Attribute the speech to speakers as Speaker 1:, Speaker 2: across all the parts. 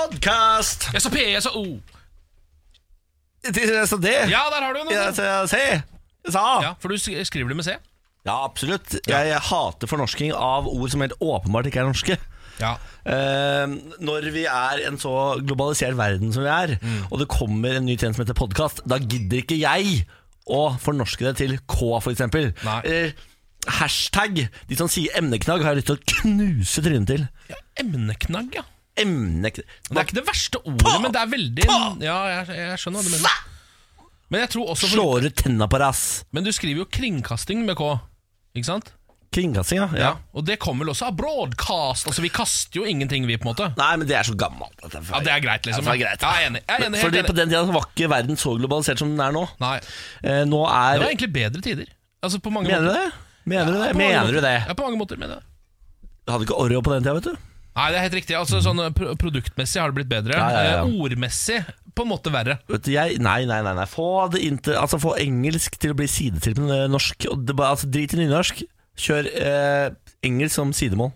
Speaker 1: Podkast!
Speaker 2: Jeg sa P, jeg sa O.
Speaker 1: Jeg sa det.
Speaker 2: Ja, der har du den. altså.
Speaker 1: Jeg sa C. Jeg sa A.
Speaker 2: Ja, for du sk- skriver det med C.
Speaker 1: Ja, absolutt. Jeg, hater fornorsking av ord som helt åpenbart ikke er norske.
Speaker 2: Ja.
Speaker 1: Eh, når vi er en så globalisert verden som vi er, og det kommer en ny tjeneste som heter podkast, da gidder ikke jeg å fornorske det til K, f.eks.
Speaker 2: Nei.
Speaker 1: Eller hashtag. De som sier emneknagg, har jeg lyst til å knuse trynet til.
Speaker 2: Emneknagg, ja.
Speaker 1: Emneknagg
Speaker 2: Det er ikke det verste ordet, men det er veldig Ja, jeg, jeg skjønner hva du mener. Men jeg tror også for,
Speaker 1: Slår ut tenna på rass.
Speaker 2: Men du skriver jo kringkasting med K, ikke sant?
Speaker 1: Kringkasting, ja. ja.
Speaker 2: Og det kommer vel også av broadcast. Altså, vi kaster jo ingenting, vi, på en måte.
Speaker 1: Nei, men det er så gammelt. dette er for-
Speaker 2: Ja, Det er greit, liksom.
Speaker 1: Ja, det er greit.
Speaker 2: Ja, Jeg er enig. Jeg er enig, helt
Speaker 1: Fordi
Speaker 2: enig.
Speaker 1: På den tida var ikke verden så globalisert som den er nå.
Speaker 2: Nei,
Speaker 1: Eh, nå er
Speaker 2: det var egentlig bedre tider. Altså, på mange
Speaker 1: Mener du
Speaker 2: måter.
Speaker 1: det? Mener du
Speaker 2: Ja,
Speaker 1: det?
Speaker 2: på mange
Speaker 1: Mener du
Speaker 2: måter.
Speaker 1: det?
Speaker 2: Ja, på mange måter mener jeg det.
Speaker 1: Hadde ikke Oreo på den tida, vet du.
Speaker 2: Nei, det er helt riktig. Altså, sånn eh, pro- Produktmessig har det blitt bedre.
Speaker 1: Ja, ja, ja.
Speaker 2: Eh, Ordmessig på en måte verre.
Speaker 1: Vet du, jeg, nei, nei, nei, nei. Få, det inter, altså, få engelsk til å bli sidetil med norsk. Og det, bare- altså, drit i nynorsk. Kjør eh, engelsk som sidemål.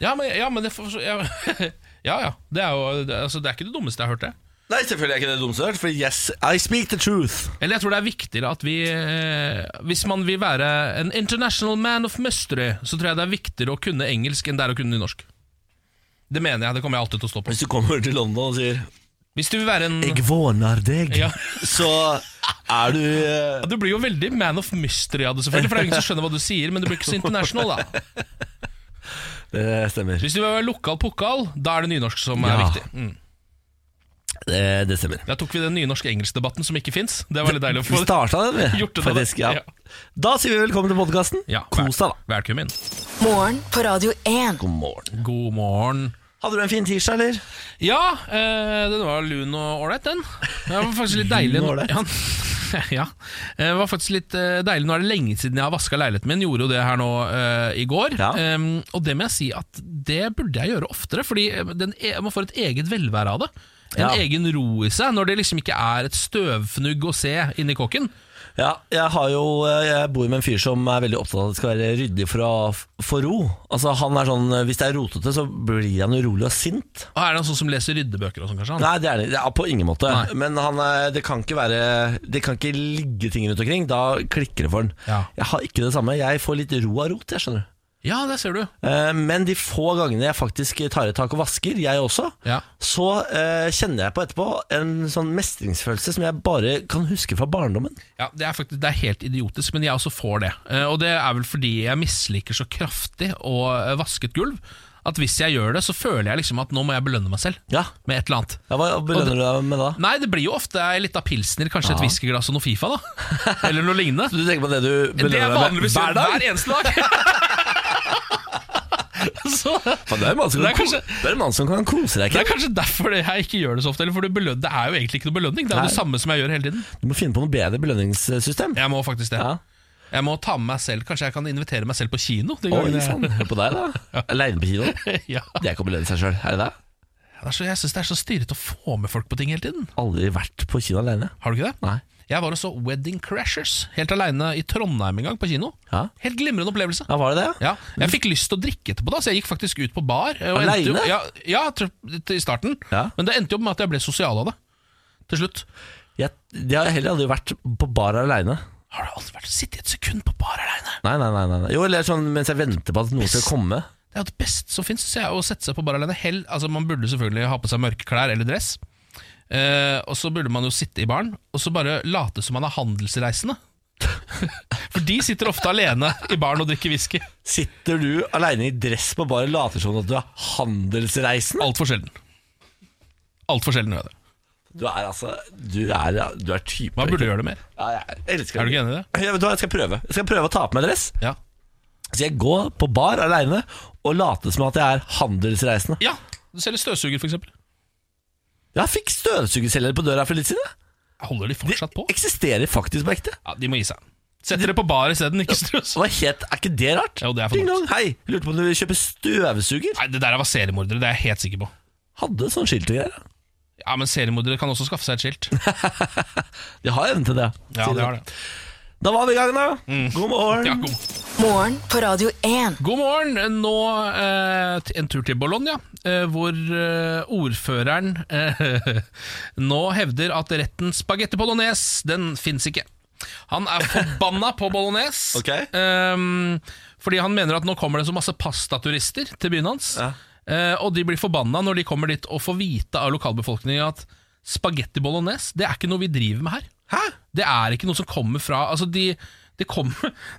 Speaker 2: Ja, men, ja, men det får ja, ja, ja. Det er jo det- altså, Det er ikke det dummeste jeg har hørt, det.
Speaker 1: Nei, selvfølgelig er ikke det dumt, for yes, I speak the truth.
Speaker 2: Eller jeg tror det er viktigere at vi eh, Hvis man vil være en international man of mystery, så tror jeg det er viktigere å kunne engelsk enn det er å kunne nynorsk. Det mener jeg. Det kommer jeg alltid til å stå på.
Speaker 1: Hvis du kommer til London og sier
Speaker 2: Hvis du vil være en
Speaker 1: 'Jeg våner deg',
Speaker 2: Ja.
Speaker 1: så er du eh,
Speaker 2: Du blir jo veldig man of mystery av det, selvfølgelig. For det er jo ingen som skjønner hva du sier, men du blir ikke så international, da.
Speaker 1: Det stemmer.
Speaker 2: Hvis du vil være lokal pokal, da er det nynorsk som er
Speaker 1: Ja.
Speaker 2: viktig. Mm.
Speaker 1: Det, Eh, det stemmer.
Speaker 2: Der tok vi den nynorsk-engelsk-debatten som ikke fins. Det var litt deilig å
Speaker 1: Vi
Speaker 2: få.
Speaker 1: starta den, vi.
Speaker 2: Gjort det da.
Speaker 1: Faktisk, ja.
Speaker 2: Ja.
Speaker 1: Da sier vi velkommen til podkasten.
Speaker 2: Ja,
Speaker 1: Kos deg, da.
Speaker 2: Velkommen.
Speaker 3: Morgen på Radio 1.
Speaker 1: God morgen.
Speaker 2: God morgen.
Speaker 1: Hadde du en fin tirsdag, eller?
Speaker 2: Ja, eh, den var lun og ålreit, den. Det var faktisk litt deilig.
Speaker 1: og
Speaker 2: nå-
Speaker 1: ålreit.
Speaker 2: Ja, ja. Det var faktisk litt eh, deilig. Nå er det lenge siden jeg har vaska leiligheten min. Gjorde jo det her nå eh, i går.
Speaker 1: Ja.
Speaker 2: Em, og det må jeg si at det burde jeg gjøre oftere, fordi den e man får et eget velvære av det. En
Speaker 1: Ja.
Speaker 2: egen ro i seg, når det liksom ikke er et støvfnugg å se inni kåken.
Speaker 1: Ja, jeg, har jo, eh, jeg bor jo med en fyr som er veldig opptatt av at det skal være ryddig for å få ro. Altså han er sånn, Hvis det er rotete, så blir han urolig og sint.
Speaker 2: Og er det han sånn som leser ryddebøker og sånn, kanskje? Han?
Speaker 1: Nei, det er det, det er på ingen måte.
Speaker 2: Nei.
Speaker 1: Men han er, det, kan ikke være, det kan ikke ligge ting rundt omkring. Da klikker det for han.
Speaker 2: Ja.
Speaker 1: Jeg har ikke det samme. Jeg får litt ro av rot, jeg skjønner du.
Speaker 2: Ja, der ser du.
Speaker 1: Eh, Men de få gangene jeg faktisk tar i tak og vasker, jeg også,
Speaker 2: Ja.
Speaker 1: så eh, kjenner jeg på etterpå en sånn mestringsfølelse som jeg bare kan huske fra barndommen.
Speaker 2: Ja, det er faktisk det er helt idiotisk, men jeg også får det. Eh, Og det er vel fordi jeg misliker så kraftig å eh, vaske et gulv, at hvis jeg gjør det, så føler jeg liksom at nå må jeg belønne meg selv
Speaker 1: Ja,
Speaker 2: med et eller annet.
Speaker 1: ja Hva belønner du deg med da?
Speaker 2: Nei, det blir jo ofte ei lita pilsner, kanskje et whiskyglass og noe Fifa, da. Eller noe lignende.
Speaker 1: Du tenker på det du
Speaker 2: Det er
Speaker 1: belønner deg med
Speaker 2: vanligvis
Speaker 1: hver dag?
Speaker 2: hver eneste dag. så
Speaker 1: Faen, det, er en mann som kan
Speaker 2: Det er
Speaker 1: ko-
Speaker 2: kanskje-
Speaker 1: det er en mann som kan kose deg.
Speaker 2: det er
Speaker 1: Ikke?
Speaker 2: kanskje derfor det jeg ikke gjør det så ofte. Eller for det, beløn, det er jo egentlig ikke noe belønning. Det er jo det
Speaker 1: Nei.
Speaker 2: samme som jeg gjør hele tiden.
Speaker 1: Du må finne på noe bedre belønningssystem.
Speaker 2: Jeg må faktisk det.
Speaker 1: Ja.
Speaker 2: Jeg må ta med meg selv Kanskje jeg kan invitere meg selv på kino? de
Speaker 1: Oi
Speaker 2: gangene jeg-
Speaker 1: sann, hør på deg, da. Aleine på kino.
Speaker 2: ja.
Speaker 1: Det er ikke å belønne seg sjøl, er det det?
Speaker 2: Det er så, jeg syns det er så styrete å få med folk på ting hele tiden.
Speaker 1: Aldri vært på kino aleine.
Speaker 2: Har du ikke det?
Speaker 1: Nei.
Speaker 2: Jeg var og så Wedding Crashers helt aleine i Trondheim en gang, på kino.
Speaker 1: Ja.
Speaker 2: Helt glimrende opplevelse.
Speaker 1: Ja, var det det?
Speaker 2: Ja, jeg fikk lyst til å drikke etterpå, da så jeg gikk faktisk ut på bar. eh, og endte jo-
Speaker 1: Alene?
Speaker 2: Ja, ja, tr- i starten.
Speaker 1: Ja.
Speaker 2: Men det endte jo opp med at jeg ble sosial av det. Til slutt.
Speaker 1: Jeg, det har jeg heller aldri vært på bar aleine.
Speaker 2: Har du aldri vært sittet et sekund på bar aleine?
Speaker 1: Nei, nei, nei, nei. nei. Jo, eller sånn mens jeg venter på at noen skal komme.
Speaker 2: Det er jo det beste som fins, syns jeg, å sette seg på bar alene. Hell, altså, man burde selvfølgelig ha på seg mørke klær eller dress. Eh, og så burde man jo sitte i baren og så bare late som man er handelsreisende. For de sitter ofte alene i baren og drikker whisky.
Speaker 1: Sitter du aleine i dress på bar og later som at du er handelsreisen?
Speaker 2: Altfor sjelden. Altfor sjelden gjør jeg det.
Speaker 1: Du er altså Du er, du er type
Speaker 2: Man burde gjøre det mer.
Speaker 1: ja, Jeg elsker
Speaker 2: Er du ikke enig i det?
Speaker 1: Jeg, vet du hva, jeg skal prøve. Jeg skal prøve å ta på meg dress.
Speaker 2: Ja.
Speaker 1: Så jeg går på bar alene og later som at jeg er handelsreisende.
Speaker 2: ja. Du selger støvsuger, f.eks.
Speaker 1: Jeg fikk støvsugerselger på døra for litt siden. jeg.
Speaker 2: Holder de fortsatt på?
Speaker 1: Det eksisterer faktisk på ekte.
Speaker 2: Ja, De må gi seg. Sett dere på bar isteden, ikke strøs.
Speaker 1: Og det er helt, er ikke det rart?
Speaker 2: Jo, det er for
Speaker 1: Ding dong, Hei, jeg lurte på om du vil kjøpe støvsuger?
Speaker 2: Nei, Det der var seriemordere, det er jeg helt sikker på.
Speaker 1: Hadde sånn skilt og greier.
Speaker 2: Ja, Men seriemordere kan også skaffe seg et skilt.
Speaker 1: De har evnen til det.
Speaker 2: Ja,
Speaker 1: sier
Speaker 2: det
Speaker 1: de.
Speaker 2: har det.
Speaker 1: Da var vi i gang, da. God morgen.
Speaker 2: Ja, god.
Speaker 3: Morgen på Radio 1.
Speaker 2: god morgen. Nå eh, t- en tur til Bologna, eh, hvor eh, ordføreren eh, nå hevder at retten spagetti bolognese, den fins ikke. Han er forbanna på bolognese,
Speaker 1: Ok.
Speaker 2: ehm, fordi han mener at nå kommer det så masse pastaturister til byen hans.
Speaker 1: Ja.
Speaker 2: eh, og de blir forbanna når de kommer dit og får vite av lokalbefolkningen at spagetti bolognese det er ikke noe vi driver med her.
Speaker 1: Hæ?
Speaker 2: Det er ikke noe som kommer fra Altså de, det kommer,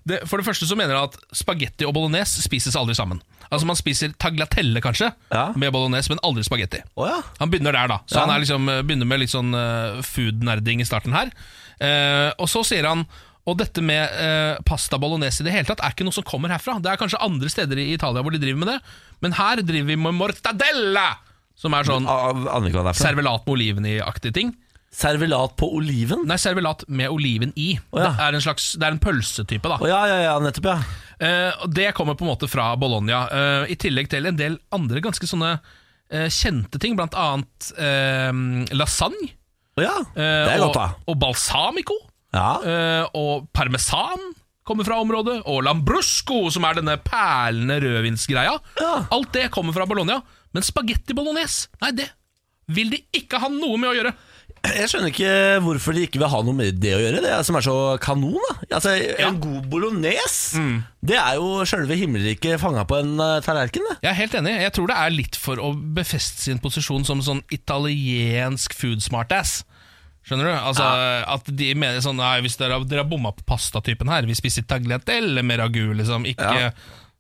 Speaker 2: det, For det første så mener jeg at spagetti og bolognese spises aldri sammen. Altså Man spiser tagliatelle kanskje
Speaker 1: Ja.
Speaker 2: med bolognese, men aldri spagetti.
Speaker 1: Å ja.
Speaker 2: Han begynner der, da. Så
Speaker 1: Ja.
Speaker 2: han er liksom, eh, begynner med litt sånn eh, food-nerding i starten her. Eh, og så sier han og dette med eh, pasta bolognese i det hele tatt er ikke noe som kommer herfra. Det er kanskje andre steder i Italia hvor de driver med det, men her driver vi med mortadella! Som er sånn
Speaker 1: Ah, Aner ikke hva det er for noe.
Speaker 2: servelat med oliven i-aktig ting.
Speaker 1: Servelat på oliven?
Speaker 2: Nei, servelat med oliven i.
Speaker 1: Å, ja.
Speaker 2: Det er en slags, det er en pølsetype, da.
Speaker 1: Å ja, ja, ja, nettopp, ja.
Speaker 2: Eh, og det kommer på en måte fra Bologna. eh, I tillegg til en del andre ganske sånne eh, kjente ting, blant annet eh, lasagne.
Speaker 1: Å ja.
Speaker 2: eh,
Speaker 1: Det er godt, da.
Speaker 2: og, og balsamico.
Speaker 1: Ja.
Speaker 2: eh, og parmesan kommer fra området. Og lambrusco, som er denne perlende rødvinsgreia.
Speaker 1: Ja.
Speaker 2: Alt det kommer fra Bologna. Men spagetti bolognese, nei, det vil de ikke ha noe med å gjøre.
Speaker 1: Jeg skjønner ikke hvorfor de ikke vil ha noe med det å gjøre, det er som er så kanon. da altså,
Speaker 2: Ja. Mm.
Speaker 1: En god bolognese, det er jo sjølve himmelriket fanga på en eh, tallerken. Det.
Speaker 2: Jeg er helt enig. Jeg tror det er litt for å befeste sin posisjon som sånn italiensk food smartass. Skjønner du? Altså At de mener sånn Nei, hvis dere har, dere har bomma på pastatypen her, vi spiser tagliatelle med ragu, liksom, ikke
Speaker 1: Ja.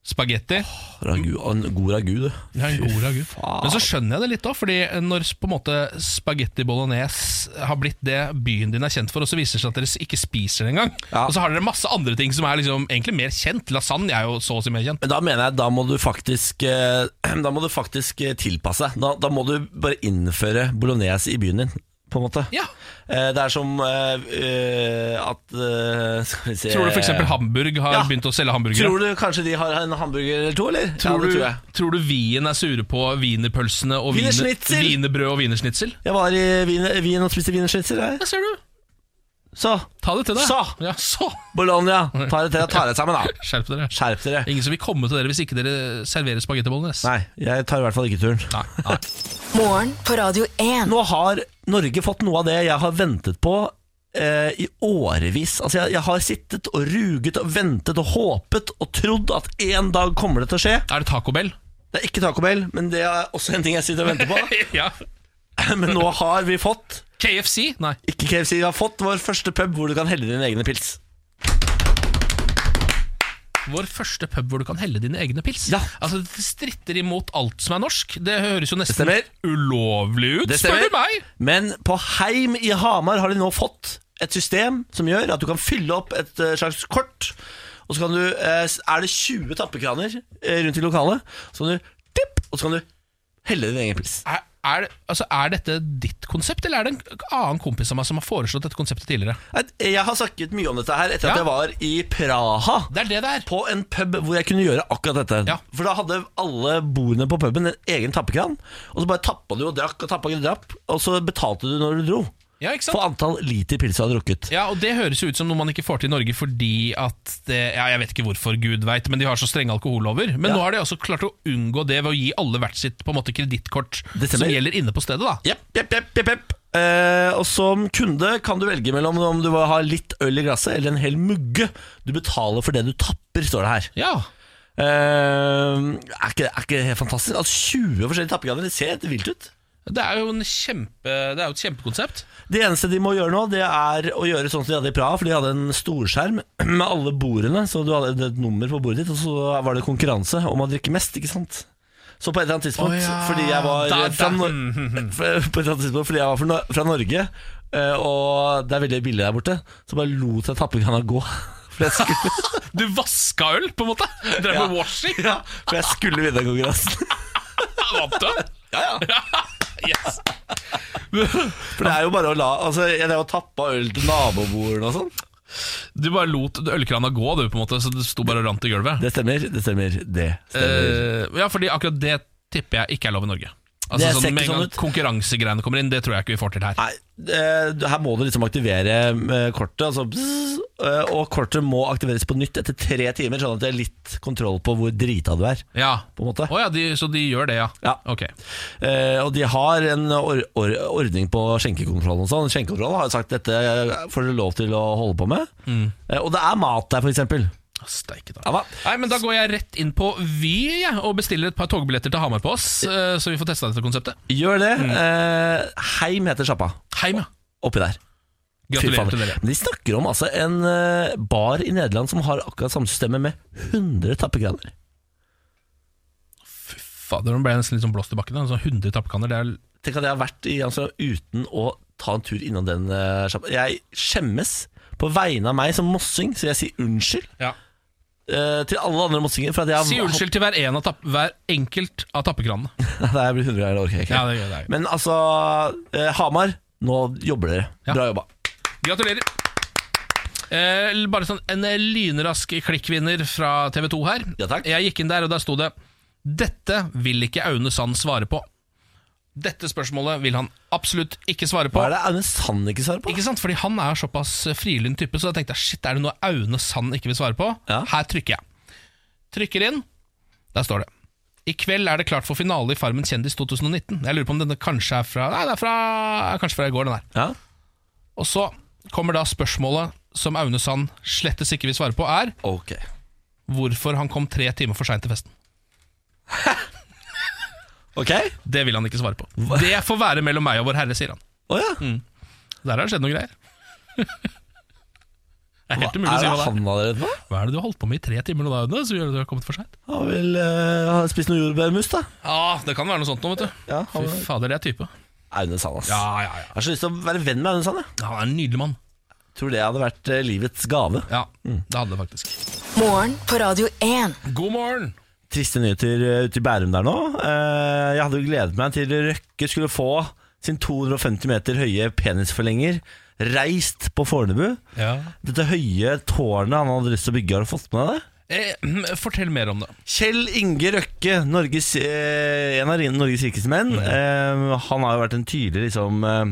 Speaker 2: spagetti.
Speaker 1: Ragu, en god ragu, du.
Speaker 2: Det er en god ragu.
Speaker 1: faen.
Speaker 2: Men så skjønner jeg det litt òg, fordi når på en måte spagetti bolognese har blitt det byen din er kjent for, og så viser det seg at dere ikke spiser det engang,
Speaker 1: Ja.
Speaker 2: og så har dere masse andre ting som er liksom egentlig mer kjent. Lasagne er jo så å si mer kjent.
Speaker 1: Men da mener jeg da må du faktisk eh, Da må du faktisk eh, tilpasse deg. Da, da må du bare innføre bolognese i byen din, på en måte.
Speaker 2: Ja.
Speaker 1: Eh, Det er som eh, eh, at eh, Skal vi se
Speaker 2: Tror du f.eks. Hamburg har
Speaker 1: Ja.
Speaker 2: begynt å selge hamburgere?
Speaker 1: Tror du kanskje de har en hamburger eller to, eller? ja,
Speaker 2: Tror,
Speaker 1: det
Speaker 2: du,
Speaker 1: tror
Speaker 2: tror,
Speaker 1: jeg.
Speaker 2: du Wien er sure på wienerpølsene og wiener-
Speaker 1: Wienerschnitzel!
Speaker 2: wienerbrød og wienersnitzel?
Speaker 1: Jeg var i Wien, Wien og spiste wienerschnitzel her.
Speaker 2: Der ser du.
Speaker 1: Så
Speaker 2: Ta det til deg.
Speaker 1: Så!
Speaker 2: Ja, så.
Speaker 1: Bologna, ta det til deg. Ta det sammen, da.
Speaker 2: Skjerp dere.
Speaker 1: Skjerp dere.
Speaker 2: Ingen som vil komme til dere hvis ikke dere serverer spagetti bolognese.
Speaker 1: Nei, jeg tar i hvert fall ikke turen.
Speaker 2: Nei, nei.
Speaker 3: Morgen på Radio 1.
Speaker 1: Nå har Norge fått noe av det jeg har ventet på eh, i årevis. Altså, jeg, jeg har sittet og ruget og ventet og håpet og trodd at en dag kommer det til å skje.
Speaker 2: Er det Taco Bell?
Speaker 1: Det er ikke Taco Bell, men det er også en ting jeg sitter og venter på.
Speaker 2: ja.
Speaker 1: Men nå har vi fått
Speaker 2: KFC? Nei.
Speaker 1: Ikke KFC, vi har fått vår første pub hvor du kan helle dine egne pils.
Speaker 2: Vår første pub hvor du kan helle dine egne pils.
Speaker 1: Ja.
Speaker 2: Altså, Det stritter imot alt som er norsk. Det høres jo nesten
Speaker 1: stemmer.
Speaker 2: ulovlig ut,
Speaker 1: Det
Speaker 2: spør
Speaker 1: stemmer.
Speaker 2: du meg!
Speaker 1: Men på Heim i Hamar har de nå fått et system som gjør at du kan fylle opp et eh, slags kort. Og så kan du, eh, er det 20 tappekraner eh, rundt i lokalet, så kan du tipp, og så kan du helle din egen pils.
Speaker 2: Er, er, det- altså, er dette ditt konsept, eller er det en annen kompis av meg som har foreslått dette konseptet tidligere?
Speaker 1: Nei, Jeg har snakket mye om dette her etter
Speaker 2: Ja.
Speaker 1: at jeg var i Praha.
Speaker 2: Det er det det er.
Speaker 1: På en pub hvor jeg kunne gjøre akkurat dette.
Speaker 2: Ja.
Speaker 1: For da hadde alle bordene på puben en egen tappekran. Og så bare tappa du og drakk og tappa og drakk, og så betalte du når du dro.
Speaker 2: Ja, ikke sant?
Speaker 1: For antall liter pils du har drukket.
Speaker 2: Ja, og Det høres jo ut som noe man ikke får til i Norge fordi at det, ja, Jeg vet ikke hvorfor, gud veit, men de har så strenge alkohollover. Men
Speaker 1: Ja.
Speaker 2: nå har de også klart å unngå det ved å gi alle hvert sitt på en måte kredittkort
Speaker 1: Det stemmer.
Speaker 2: som gjelder inne på stedet. da
Speaker 1: Jepp, jepp, jepp, jepp, jepp. Eh, og som kunde kan du velge mellom om du vil ha litt øl i glasset eller en hel mugge. Du betaler for det du tapper, står det her.
Speaker 2: Ja,
Speaker 1: Eh, er, ikke, er ikke det helt fantastisk? Altså 20 forskjellige tappegrader, det ser helt vilt ut.
Speaker 2: Det er jo, en kjempe, det er jo et kjempekonsept.
Speaker 1: Det eneste de må gjøre nå, det er å gjøre sånn som de hadde i Praha. For de hadde en storskjerm med alle bordene, så du hadde et nummer på bordet ditt, og så var det konkurranse om å drikke mest, ikke sant? Så på et eller annet tidspunkt,
Speaker 2: Å ja,
Speaker 1: fordi jeg var
Speaker 2: da- da-
Speaker 1: fra, Nor- på et eller annet tidspunkt, fordi jeg var fra, Nor- fra Norge, eh, og det er veldig billig der borte, så bare lot jeg tappekrana gå. For jeg skulle,
Speaker 2: Du vaska øl, på en måte! Drev med washing!
Speaker 1: ja, for jeg skulle vinne konkurransen.
Speaker 2: Vant du? Ja, ja. yes.
Speaker 1: For det er jo bare å la Altså, jeg drev og tappa øl til nabobordene og sånn.
Speaker 2: Du bare lot ølkrana gå, du, på en måte så det sto bare og rant i gulvet.
Speaker 1: Det stemmer, det stemmer, det stemmer.
Speaker 2: Eh, ja, fordi akkurat det tipper jeg ikke er lov i Norge. Altså,
Speaker 1: Det ser
Speaker 2: sånn,
Speaker 1: ikke
Speaker 2: med en
Speaker 1: sånn
Speaker 2: gang
Speaker 1: ut.
Speaker 2: konkurransegreiene kommer inn, det tror jeg ikke vi får til her.
Speaker 1: Nei, eh, her må du liksom aktivere eh, kortet, altså, bzz, eh, og kortet må aktiveres på nytt etter tre timer, sånn at det er litt kontroll på hvor drita du er.
Speaker 2: Ja.
Speaker 1: På en måte.
Speaker 2: Å ja, de, så de gjør det, ja.
Speaker 1: Ja.
Speaker 2: Ok. Ah,
Speaker 1: Eh, og de har en or or ordning på skjenkekontrollen og sånn. Skjenkekontrollen har jo sagt dette får dere lov til å holde på med.
Speaker 2: Mm.
Speaker 1: Eh, og det er mat der, for eksempel.
Speaker 2: Steike, da.
Speaker 1: Ja, hva?
Speaker 2: Nei, men Da går jeg rett inn på Vy jeg, og bestiller et par togbilletter til Hamar på oss, eh, så vi får testa dette konseptet.
Speaker 1: Gjør det.
Speaker 2: Mm.
Speaker 1: Eh, heim heter sjappa
Speaker 2: Heim, ja.
Speaker 1: oppi der. Fy
Speaker 2: Gratulerer
Speaker 1: faen.
Speaker 2: til dere.
Speaker 1: Men de snakker om altså, en eh, bar i Nederland som har akkurat samme systemet med 100 tappekraner.
Speaker 2: Fader, nå ble jeg nesten litt sånn blåst i bakken. da. Sånn 100 tappekanner, det er
Speaker 1: Tenk at jeg har vært i Amsterdam uten å ta en tur innom den eh, sjappa. Jeg skjemmes på vegne av meg som mossing, så jeg sier unnskyld
Speaker 2: ja.
Speaker 1: eh, til alle andre mossinger. For at jeg har
Speaker 2: Si unnskyld til hver, en av tapp, hver enkelt av tappekranene.
Speaker 1: Nei, det blir 100 ganger, det orker jeg ikke.
Speaker 2: Ja, det gjør det.
Speaker 1: Men altså, eh, Hamar, nå jobber dere.
Speaker 2: Ja.
Speaker 1: Bra jobba.
Speaker 2: Gratulerer. Eh, l- bare sånn en eh, lynrask klikkvinner fra TV 2 her.
Speaker 1: Ja, takk.
Speaker 2: Jeg gikk inn der, og der sto det 'Dette vil ikke Aune Sand svare på'. Dette spørsmålet vil han absolutt ikke svare på.
Speaker 1: Hva er det Aune Sand ikke svarer på?
Speaker 2: Ikke sant? Fordi han er såpass frilynt type, så da tenkte jeg shit, er det noe Aune Sand ikke vil svare på?
Speaker 1: Ja.
Speaker 2: Her trykker jeg. Trykker inn. Der står det. I kveld er det klart for finale i Farmen kjendis 2019. Jeg lurer på om denne kanskje er fra Nei, det er fra, er kanskje fra i går, den her.
Speaker 1: Ja.
Speaker 2: Og så kommer da spørsmålet som Aune Sand slettes ikke vil svare på, er
Speaker 1: Ok.
Speaker 2: hvorfor han kom tre timer for seint til festen.
Speaker 1: Ok? Å
Speaker 2: Det vil han ikke svare på. Det får være mellom meg og vår herre, sier han.
Speaker 1: ja.
Speaker 2: Mm, Der har det skjedd noen greier. det er
Speaker 1: Hva
Speaker 2: helt
Speaker 1: er
Speaker 2: umulig å si
Speaker 1: det
Speaker 2: hva det er.
Speaker 1: han har redd på?
Speaker 2: Hva er det du har holdt på med i tre timer nå, da, Aune? Så gjør det at du har kommet for seint?
Speaker 1: Han vil eh, ha spist noe jordbærmus, da.
Speaker 2: Ja, det kan være noe sånt nå, vet du.
Speaker 1: Ja,
Speaker 2: Fy
Speaker 1: han,
Speaker 2: fader, det er type.
Speaker 1: Aune Sand, ass.
Speaker 2: ja, ja.
Speaker 1: Jeg har så lyst til å være venn med Aune Sand. Jeg
Speaker 2: Han er en nydelig mann.
Speaker 1: tror det hadde vært eh, livets gave.
Speaker 2: Ja, det hadde det faktisk.
Speaker 3: Morgen på Radio 1.
Speaker 2: God morgen!
Speaker 1: Triste nyheter eh, ute i Bærum der nå. Eh, Jeg hadde jo gledet meg til Røkke skulle få sin 250 meter høye penisforlenger reist på Fornebu. Dette høye tårnet han hadde lyst til å bygge, har du fått med deg det?
Speaker 2: Eh, fortell mer om det.
Speaker 1: Kjell Inge Røkke, Norges, eh, en av Norges rikeste menn. Eh, han har jo vært en tydelig liksom, eh,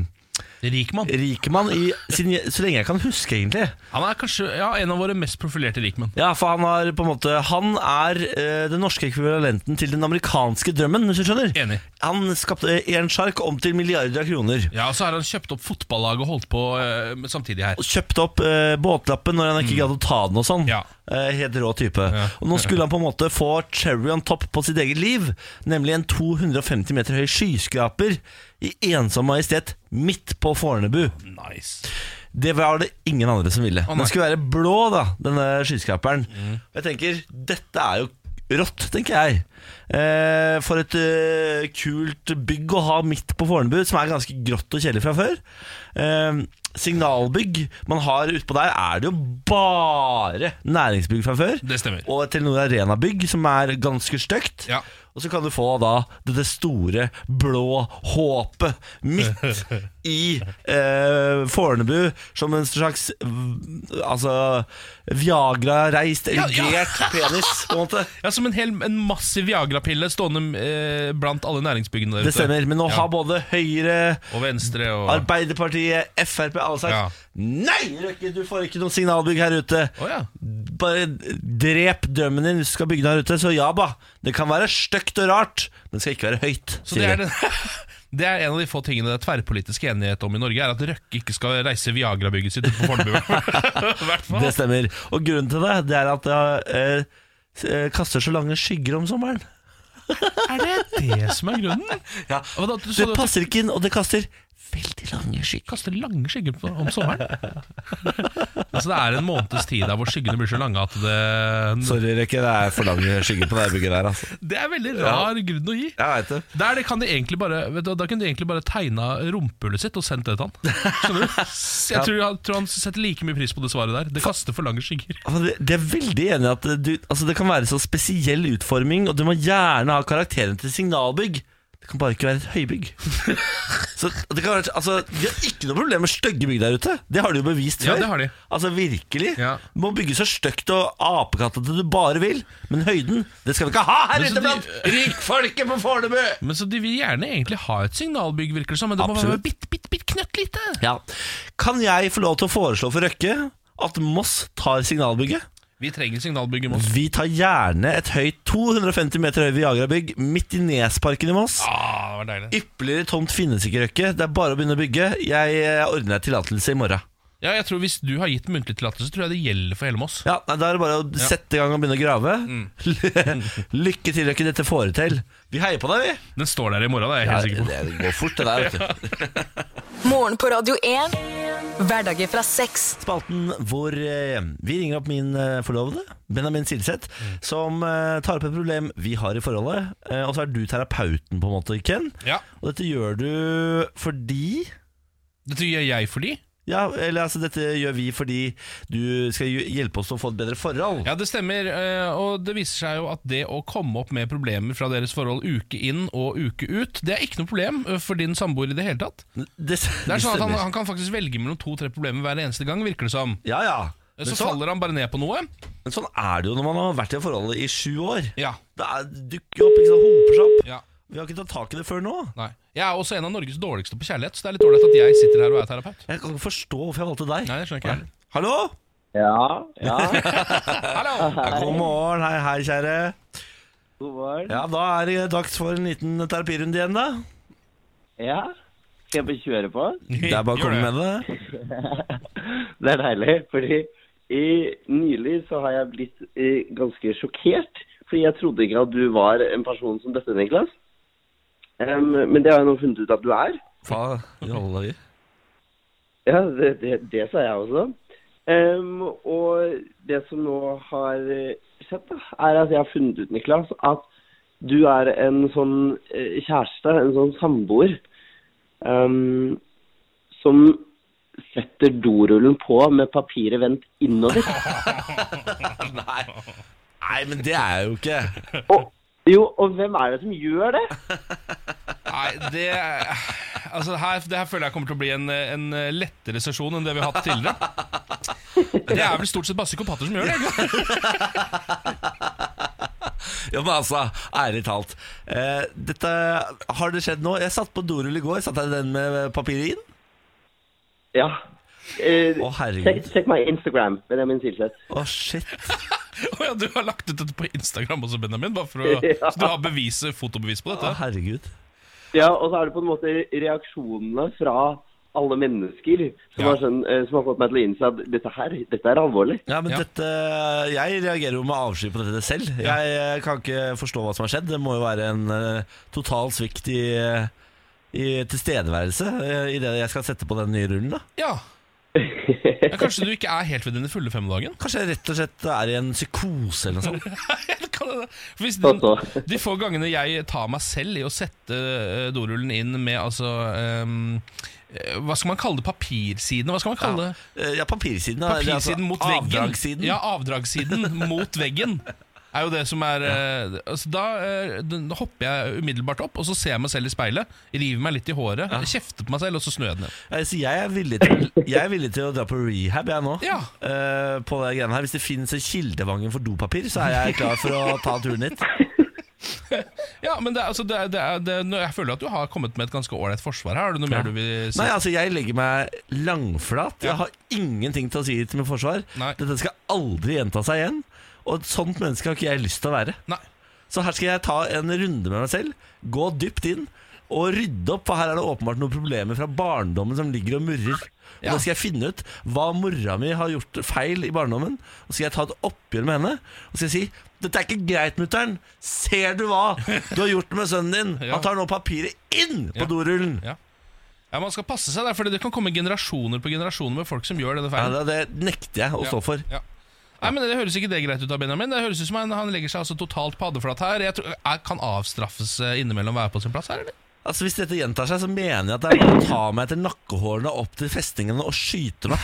Speaker 2: Rik mann.
Speaker 1: rikmann i, siden, jeg- så lenge jeg kan huske, egentlig.
Speaker 2: Han er kanskje ja, en av våre mest profilerte rikmenn.
Speaker 1: Ja, for han har på en måte Han er eh, den norske ekvivalenten til den amerikanske drømmen, hvis du skjønner.
Speaker 2: Enig.
Speaker 1: Han skapte én sjark om til milliarder av kroner.
Speaker 2: Ja, og så har han kjøpt opp fotballaget og holdt på eh, med- samtidig her.
Speaker 1: Og kjøpte opp eh, båtlappen når han ikke gadd å ta den og sånn.
Speaker 2: Ja.
Speaker 1: Eh, helt rå type. Og nå skulle han på en måte få cherry on top på sitt eget liv. Nemlig en 250 meter høy skyskraper i ensom majestet midt på Fornebu.
Speaker 2: Nice.
Speaker 1: Det var det ingen andre som ville.
Speaker 2: nei.
Speaker 1: den skulle være blå, da, denne skyskraperen. Og jeg tenker, dette er jo rått, tenker jeg. Eh, for et eh, kult bygg å ha midt på Fornebu, som er ganske grått og kjedelig fra før. Eh, signalbygg man har utpå der, er det jo bare næringsbygg fra før.
Speaker 2: Det stemmer.
Speaker 1: Og et Telenor Arena-bygg, som er ganske stygt.
Speaker 2: Ja.
Speaker 1: Og så kan du få da dette store, blå håpet midt i eh, Fornebu, som en slags v- altså, Viagra-reist,
Speaker 2: Ja, ja.
Speaker 1: erigert penis, på en måte.
Speaker 2: Ja, Som en, hel, en massiv Viagra-pille stående eh, blant alle næringsbyggene der
Speaker 1: Det stemmer. Men nå
Speaker 2: Ja.
Speaker 1: har både Høyre,
Speaker 2: Og venstre og
Speaker 1: Arbeiderpartiet, Frp alle sagt
Speaker 2: Ja.
Speaker 1: Nei, Røkke, du får ikke noe signalbygg her ute.
Speaker 2: Å ja.
Speaker 1: Bare drep drømmen din hvis du skal bygge den her ute. Så ja, ba. Det kan være stygt og rart, men det skal ikke være høyt.
Speaker 2: Så det
Speaker 1: sier
Speaker 2: er, den, det er en av de få tingene det er tverrpolitisk enighet om i Norge, er at Røkke ikke skal reise Viagra-bygget sitt på Fornebu. I hvert fall.
Speaker 1: Det stemmer. Og grunnen til det, det er at det eh, s- eh, kaster så lange skygger om sommeren.
Speaker 2: Er det det som er grunnen?
Speaker 1: Ja.
Speaker 2: Hva da, du, så
Speaker 1: Det
Speaker 2: du
Speaker 1: passer ikke inn, og det kaster veldig lange skygger.
Speaker 2: kaster lange skygger på, om sommeren? altså Det er en måneds tid der hvor skyggene blir så lange at det
Speaker 1: Sorry, Rekke, det er for lange skygger på det bygget der. Altså.
Speaker 2: Det er veldig rar grunn å gi.
Speaker 1: Jeg veit det.
Speaker 2: Der det kan de egentlig bare vet du, hva, Da kunne de egentlig bare tegna rumpehullet sitt og sendt det til han. Skjønner du? Jeg tror, jeg tror han setter like mye pris på det svaret der. Det kaster for lange skygger.
Speaker 1: Altså, det- det er veldig enig i at du, altså, det kan være så spesiell utforming, og du må gjerne ha karakteren til signalbygg. Det kan bare ikke være et høybygg. så det kan være, altså, De har ikke noe problem med stygge bygg der ute. Det har de jo bevist
Speaker 2: Ja,
Speaker 1: før.
Speaker 2: det har de.
Speaker 1: Altså Virkelig.
Speaker 2: Ja.
Speaker 1: Du må bygge så stygt og apekattete du bare vil, men høyden det skal vi ikke ha her
Speaker 2: Men
Speaker 1: ute
Speaker 2: så de-
Speaker 1: blant rikfolket på Fornebu!
Speaker 2: Men så De vil gjerne egentlig ha et signalbygg, virker det som, men det må
Speaker 1: Absolutt.
Speaker 2: være bitte, bitte, bitte knøttlite.
Speaker 1: Ja. Kan jeg få lov til å foreslå for Røkke at Moss tar signalbygget.
Speaker 2: Vi trenger signalbygget Moss.
Speaker 1: Vi tar gjerne et høyt 250 meter høyt Viagra-bygg midt i Nesparken i Moss.
Speaker 2: Ah, det var deilig.
Speaker 1: Ypperligere tomt finnes ikke, Røkke. Det er bare å begynne å bygge. Jeg eh, ordner deg tillatelse i morgen.
Speaker 2: Ja, jeg tror Hvis du har gitt muntlig tillatelse, tror jeg det gjelder for hele Moss.
Speaker 1: Ja, nei, Da er det bare å sette i gang og begynne å grave. Lykke til, Røkke. Dette får du til. Vi heier på deg, vi.
Speaker 2: Den står der i morgen, det er jeg
Speaker 1: Ja,
Speaker 2: helt sikker på.
Speaker 1: det går fort, det der. vet du
Speaker 3: Morgen på Radio 1. Hverdager fra seks.
Speaker 1: Spalten hvor eh, vi ringer opp min eh, forlovede, Benjamin Silseth, som eh, tar opp et problem vi har i forholdet. Eh, og så er du terapeuten, på en måte, Ken.
Speaker 2: Ja,
Speaker 1: Og dette gjør du fordi
Speaker 2: Dette gjør jeg for de.
Speaker 1: Ja, eller altså dette gjør vi fordi du skal hj- hjelpe oss til å få et bedre forhold.
Speaker 2: Ja, det stemmer. eh, Og det viser seg jo at det å komme opp med problemer fra deres forhold uke inn og uke ut, det er ikke noe problem eh, for din samboer i det hele tatt.
Speaker 1: Det,
Speaker 2: Det er sånn at han,
Speaker 1: stemmer.
Speaker 2: han kan faktisk velge mellom to-tre problemer hver eneste gang, virker det som. Eh,
Speaker 1: Ja, ja. Men,
Speaker 2: Så
Speaker 1: sånn,
Speaker 2: faller han bare ned på noe.
Speaker 1: men sånn er det jo når man har vært i forholdet i sju år.
Speaker 2: Ja,
Speaker 1: Det er, dukker jo opp, ikke sant, hoper seg opp.
Speaker 2: ja,
Speaker 1: Vi har ikke tatt tak i det før nå.
Speaker 2: nei Jeg er også en av Norges dårligste på kjærlighet, så det er litt dårlig at jeg sitter her og er terapeut.
Speaker 1: Jeg kan ikke forstå hvorfor jeg valgte deg.
Speaker 2: Nei, det skjønner ikke jeg heller.
Speaker 1: Hallo?
Speaker 4: Ja, ja.
Speaker 2: Hallo!
Speaker 1: Ja, god morgen. Hei, hei, kjære.
Speaker 4: God morgen.
Speaker 1: Ja, da er det dags for en liten terapirunde igjen, da.
Speaker 4: Ja. Skal jeg bare kjøre på?
Speaker 1: Det er bare å
Speaker 2: Gjør
Speaker 1: komme med det.
Speaker 4: Det er deilig, fordi i, nylig så har jeg blitt eh, ganske sjokkert. Fordi jeg trodde ikke at du var en person som dette, Niklas. Em, men det har jeg nå funnet ut at du er.
Speaker 1: Faen, i alle dager.
Speaker 4: Ja, det, det, det sa jeg også. Em, og det som nå har eh, skjedd, da, er at jeg har funnet ut, Niklas, at du er en sånn eh, kjæreste, en sånn samboer, em, som setter dorullen på med papiret vendt innover.
Speaker 1: Nei. Nei, men det er jeg jo ikke.
Speaker 4: Og, jo, og hvem er det som gjør det?
Speaker 2: Nei, det Altså, her, det her føler jeg kommer til å bli en, en lettere sesjon enn det vi har hatt tidligere. Det er vel stort sett bare psykopater som gjør det. ikke?
Speaker 1: Ja, men altså, ærlig talt. Eh, dette har det skjedd nå. Jeg satt på dorull i går. Satt jeg den med papiret inn?
Speaker 4: Ja. Eh,
Speaker 1: Å, herregud.
Speaker 4: sjekk, sjekk meg Instagram, Benjamin Silseth.
Speaker 1: Å, shit.
Speaker 2: Å ja, du har lagt ut dette på Instagram også, Benjamin. Bare for å,
Speaker 4: Ja.
Speaker 2: Så du har bevis, fotobevis på
Speaker 1: Å,
Speaker 2: dette?
Speaker 1: herregud.
Speaker 4: Ja, og så er det på en måte reaksjonene fra alle mennesker som,
Speaker 2: Ja.
Speaker 4: har, skjønt, eh, som har fått meg til å innse at dette her, dette er alvorlig.
Speaker 1: Ja, men
Speaker 2: Ja.
Speaker 1: dette Jeg reagerer jo med avsky på dette selv. Jeg eh, kan ikke forstå hva som har skjedd. Det må jo være en eh, total svikt i, eh, i tilstedeværelse eh, i det jeg skal sette på den nye rullen, da.
Speaker 2: Ja. ja. Kanskje du ikke er helt ved dine fulle fem om dagen?
Speaker 1: Kanskje jeg rett og slett er i en psykose eller noe sånt.
Speaker 2: Det kan det. For Hvis
Speaker 4: Så,
Speaker 2: de,
Speaker 4: så.
Speaker 2: de få gangene jeg tar meg selv i å sette eh, dorullen inn med altså ehm, eh, Hva skal man kalle det? Papirsidene? Hva skal man kalle det?
Speaker 1: Eh, Ja, papirsiden. da. Eller altså
Speaker 2: Papirsiden mot veggen.
Speaker 1: Avdragssiden.
Speaker 2: Ja, avdragssiden mot veggen. Er jo det som er eh, altså da, eh, den- da hopper jeg umiddelbart opp, og så ser jeg meg selv i speilet. River meg litt i håret, kjefter på meg selv, og så snur jeg den ned.
Speaker 1: Eh, Så jeg er, villig til, jeg er villig til å dra på rehab, jeg nå.
Speaker 2: Ja.
Speaker 1: Eh, på det greiene her Hvis det finnes en kildevangen for dopapir, så er jeg klar for å ta turen hit.
Speaker 2: Ja, men det, er- altså, det, er- det, er- det, er- nå- Jeg føler at du har kommet med et ganske ålreit forsvar her. Har du noe mer du vil si?
Speaker 1: Nei, altså Jeg legger meg langflat. Jeg har ingenting til å si til mitt forsvar.
Speaker 2: Nei.
Speaker 1: Dette skal aldri gjenta seg igjen. Og et sånt menneske har ikke jeg lyst til å være.
Speaker 2: Nei.
Speaker 1: Så her skal jeg ta en runde med meg selv, gå dypt inn og rydde opp, for her er det åpenbart noen problemer fra barndommen som ligger og murrer. Og
Speaker 2: Ja.
Speaker 1: Da skal jeg finne ut hva mora mi har gjort feil i barndommen, og så skal jeg ta et oppgjør med henne. Og skal jeg si 'Dette er ikke greit, mutter'n. Ser du hva du har gjort med sønnen din?'
Speaker 2: Ja.
Speaker 1: Han tar nå papiret inn på
Speaker 2: Ja.
Speaker 1: dorullen.
Speaker 2: Ja. Ja, Man skal passe seg, der, for det kan komme generasjoner på generasjoner med folk som gjør denne
Speaker 1: Ja,
Speaker 2: feilen.
Speaker 1: det, det nekter jeg å stå for.
Speaker 2: Ja. Nei, men Det høres ikke det greit ut av Benjamin. Det høres ut som han, han legger seg altså totalt paddeflat her. Jeg tror, er, Kan avstraffes eh, innimellom være på sin plass her, eller?
Speaker 1: Altså Hvis dette gjentar seg, så mener jeg at det er bare å ta meg etter nakkehårene opp til festningene og skyte meg.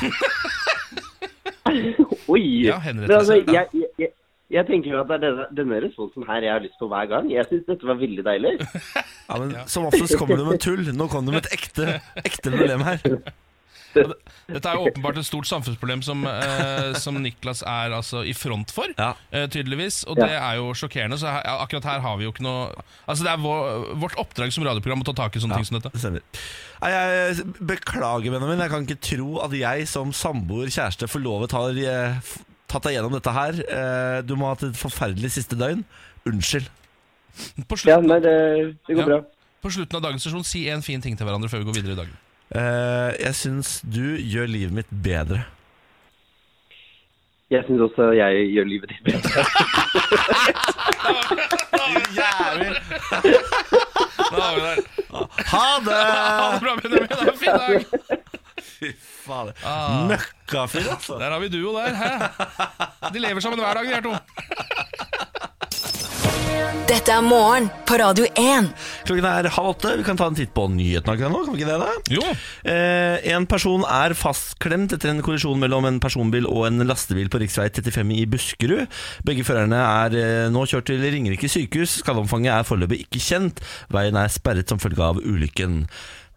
Speaker 4: Oi!
Speaker 2: Ja,
Speaker 4: Men
Speaker 2: henrettelse,
Speaker 4: altså,
Speaker 2: ja.
Speaker 4: jeg, jeg, jeg, jeg tenker jo at det er denne, denne responsen her jeg har lyst på hver gang. Jeg syns dette var veldig deilig.
Speaker 1: Ja, men Som oftest kommer du med tull. Nå kom du med et ekte, ekte problem her.
Speaker 2: Dette er jo åpenbart et stort samfunnsproblem som, eh, som Niklas er altså i front for,
Speaker 1: Ja.
Speaker 2: eh, tydeligvis. Og
Speaker 4: Ja.
Speaker 2: det er jo sjokkerende, så her, akkurat her har vi jo ikke noe Altså Det er vår, vårt oppdrag som radioprogram å ta tak i sånne ting som dette.
Speaker 1: Det stemmer. Nei, jeg beklager, vennen min. Jeg kan ikke tro at jeg som samboer, kjæreste, forlovet har eh, f- tatt deg gjennom dette her. Eh, Du må ha hatt et forferdelig siste døgn. Unnskyld.
Speaker 2: På,
Speaker 4: Ja,
Speaker 2: slutten,
Speaker 4: nei, det, det går
Speaker 2: Ja.
Speaker 4: bra.
Speaker 2: på slutten av dagens sesjon, si en fin ting til hverandre før vi går videre i dagen.
Speaker 1: Eh, Jeg syns du gjør livet mitt bedre.
Speaker 4: Jeg syns også jeg gjør livet ditt bedre.
Speaker 1: Jævlig.
Speaker 2: Da var vi der.
Speaker 1: Ha
Speaker 2: Ha det
Speaker 1: det!
Speaker 2: bra, Benjamin. Ha en fin dag.
Speaker 1: Fy fader.
Speaker 2: Ah.
Speaker 1: Møkkafyr, altså.
Speaker 2: Der har vi duo der. Hæ? De lever sammen hver dag, de her to.
Speaker 3: Dette er morgen på Radio 1.
Speaker 1: Klokken er halv åtte. Vi kan ta en titt på nyhetene akkurat nå. Kan vi ikke det? da?
Speaker 2: Jo.
Speaker 1: Eh, en person er fastklemt etter en kollisjon mellom en personbil og en lastebil på rv. 35 i Buskerud. Begge førerne er eh, nå kjørt til Ringerike sykehus. Skadeomfanget er foreløpig ikke kjent. Veien er sperret som følge av ulykken.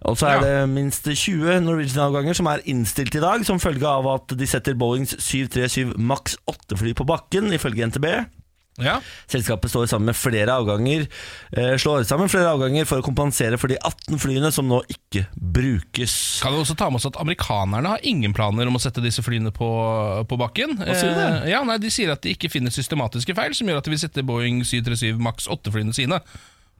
Speaker 1: Og så er
Speaker 2: Ja.
Speaker 1: det minst 20 Norwegian-avganger som er innstilt i dag, som følge av at de setter Boeings 737 maks 8-fly på bakken, ifølge NTB.
Speaker 2: Ja.
Speaker 1: Selskapet står sammen med flere avganger eh, slår sammen flere avganger for å kompensere for de 18 flyene som nå ikke brukes.
Speaker 2: Kan vi også ta med oss at Amerikanerne har ingen planer om å sette disse flyene på, på bakken.
Speaker 1: sier du det?
Speaker 2: Eh, ja, nei, De sier at de ikke finner systematiske feil som gjør at de vil sette Boeing 737 Max 8-flyene sine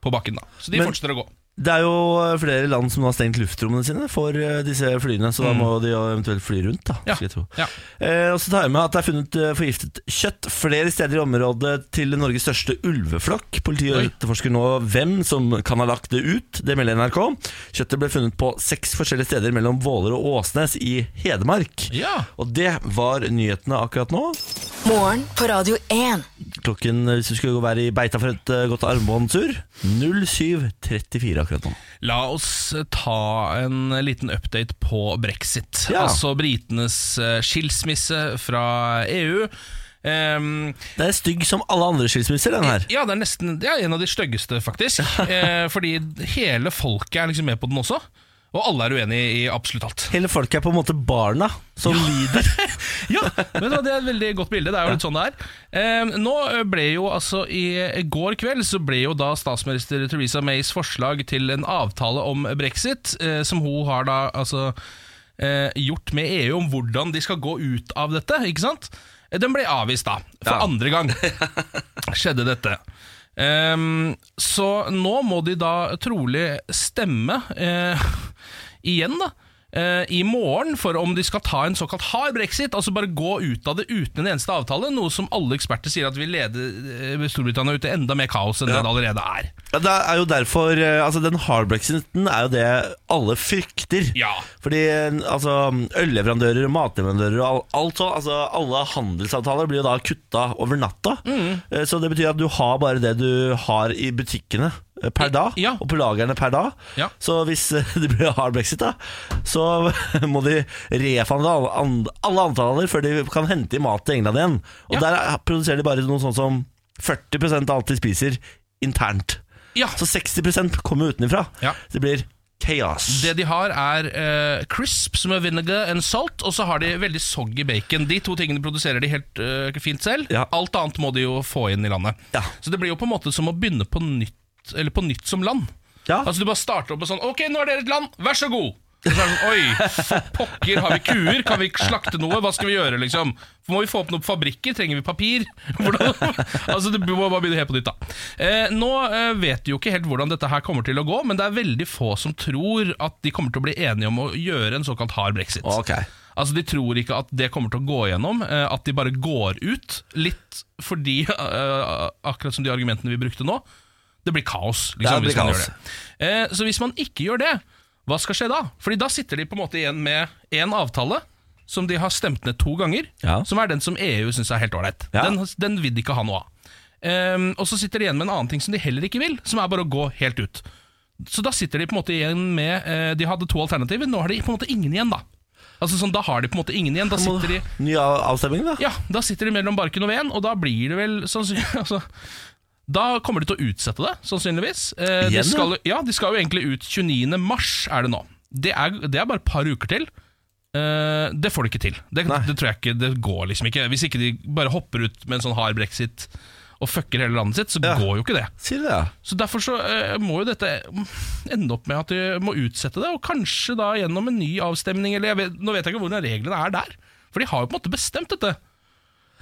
Speaker 2: på bakken. da Så de
Speaker 1: Men-
Speaker 2: fortsetter å gå.
Speaker 1: Det er jo eh, flere land som nå har stengt luftrommene sine for eh, disse flyene, så da må de jo eventuelt fly rundt, da.
Speaker 2: Mm. Ja,
Speaker 1: Skal jeg tro.
Speaker 2: ja.
Speaker 1: Eh, og så tar jeg med at det er funnet eh, forgiftet kjøtt flere steder i området til Norges største ulveflokk. Politiet
Speaker 2: Oi.
Speaker 1: etterforsker nå hvem som kan ha lagt det ut, det melder NRK. Kjøttet ble funnet på seks forskjellige steder mellom Våler og Åsnes i Hedmark.
Speaker 2: Ja.
Speaker 1: Og det var nyhetene akkurat nå.
Speaker 3: Morgen på Radio 1.
Speaker 1: Klokken, eh, hvis du skulle være i beita for et eh, godt armbåndsur, 07.34 akkurat nå.
Speaker 2: La oss eh, ta en liten update på brexit.
Speaker 1: Ja.
Speaker 2: Altså britenes eh, skilsmisse fra EU. Ehm,
Speaker 1: Det er stygg som alle andre skilsmisser, den her.
Speaker 2: Ja, det er nesten det er en av de styggeste, faktisk. eh, fordi hele folket er liksom med på den også. Og alle er uenig i absolutt alt.
Speaker 1: Hele folket er på en måte barna som lider.
Speaker 2: Ja, vet du hva, Det er et veldig godt bilde. Det er jo litt sånn det er. Eh, nå ble jo altså I går kveld så ble jo da statsminister Theresa Mays forslag til en avtale om brexit, eh, som hun har da altså eh, gjort med EU om hvordan de skal gå ut av dette, ikke sant? Eh, Den ble avvist da, for
Speaker 1: Ja.
Speaker 2: andre gang skjedde dette. Ehm, så nå må de da trolig stemme eh, igjen, da. eh, I morgen, for om de skal ta en såkalt hard brexit, altså bare gå ut av det uten en eneste avtale, noe som alle eksperter sier at vil lede eh, Storbritannia ut i enda mer kaos enn
Speaker 1: Ja.
Speaker 2: det det allerede er.
Speaker 1: Ja, det er jo derfor eh, Altså, den hard brexiten er jo det alle frykter.
Speaker 2: Ja.
Speaker 1: Fordi eh, altså, ølleverandører og matleverandører og al- alt sånn altså, Alle handelsavtaler blir jo da kutta over natta.
Speaker 2: Mm.
Speaker 1: Eh, Så det betyr at du har bare det du har i butikkene eh, per dag,
Speaker 2: Ja.
Speaker 1: og på lagrene per dag.
Speaker 2: Ja.
Speaker 1: Så hvis eh, det blir hard brexit, da, så må de refande alle, an- alle antaler før de kan hente i mat til England igjen. Og
Speaker 2: Ja.
Speaker 1: der er- produserer de bare noe sånn som 40 av alt de spiser, internt.
Speaker 2: Ja,
Speaker 1: Så 60 kommer utenfra.
Speaker 2: Ja.
Speaker 1: Det blir chaos.
Speaker 2: Det de har, er eh, crisps med vinegar and salt, og så har de veldig soggy bacon. De to tingene produserer de helt eh, fint selv.
Speaker 1: Ja.
Speaker 2: Alt annet må de jo få inn i landet.
Speaker 1: Ja.
Speaker 2: Så det blir jo på en måte som å begynne på nytt, eller på nytt som land.
Speaker 1: Ja.
Speaker 2: Altså Du bare starter opp med sånn Ok, nå er dere et land, vær så god! Og så er det sånn, Oi, for pokker, har vi kuer? Kan vi slakte noe? Hva skal vi gjøre, liksom? Må vi få opp noen fabrikker? Trenger vi papir? Hvordan? Altså, Det må bare begynne helt på nytt, da. Eh, nå eh, vet vi jo ikke helt hvordan dette her kommer til å gå, men det er veldig få som tror at de kommer til å bli enige om å gjøre en såkalt hard brexit.
Speaker 1: Ok.
Speaker 2: Altså De tror ikke at det kommer til å gå igjennom, eh, at de bare går ut. Litt fordi, eh, akkurat som de argumentene vi brukte nå, det blir kaos. Liksom,
Speaker 1: Ja, det blir
Speaker 2: hvis man
Speaker 1: kaos.
Speaker 2: Gjør det. Eh, så hvis man ikke gjør det, hva skal skje da? Fordi da sitter de på en måte igjen med én avtale. Som de har stemt ned to ganger,
Speaker 1: Ja.
Speaker 2: som er den som EU syns er helt ålreit.
Speaker 1: Ja.
Speaker 2: Den, den vil de ikke ha noe av. Ehm, og så sitter de igjen med en annen ting som de heller ikke vil, som er bare å gå helt ut. Så da sitter de på en måte igjen med eh, De hadde to alternativer, nå har de på en måte ingen igjen, da. Altså sånn, Da har de på en måte ingen igjen. Da sitter de
Speaker 1: Ny av- avstemning, da?
Speaker 2: Ja, da sitter de mellom barken og veden, og da blir det vel sannsynlig altså, Da kommer de til å utsette det, sannsynligvis. Eh, de,
Speaker 1: Igjen,
Speaker 2: skal, ja, de skal jo egentlig ut 29. mars, er det nå. Det er, det er bare et par uker til. Eh, Eh, det får de ikke til. Det,
Speaker 1: Nei.
Speaker 2: det tror jeg ikke Det går liksom ikke. Hvis ikke de bare hopper ut med en sånn hard brexit og fucker hele landet sitt, så
Speaker 1: Ja.
Speaker 2: går jo ikke det.
Speaker 1: Sier du det? ja?
Speaker 2: Så Derfor så eh, må jo dette ende opp med at de må utsette det, og kanskje da gjennom en ny avstemning. Eller jeg vet, nå vet jeg ikke hvordan reglene er der, for de har jo på en måte bestemt dette.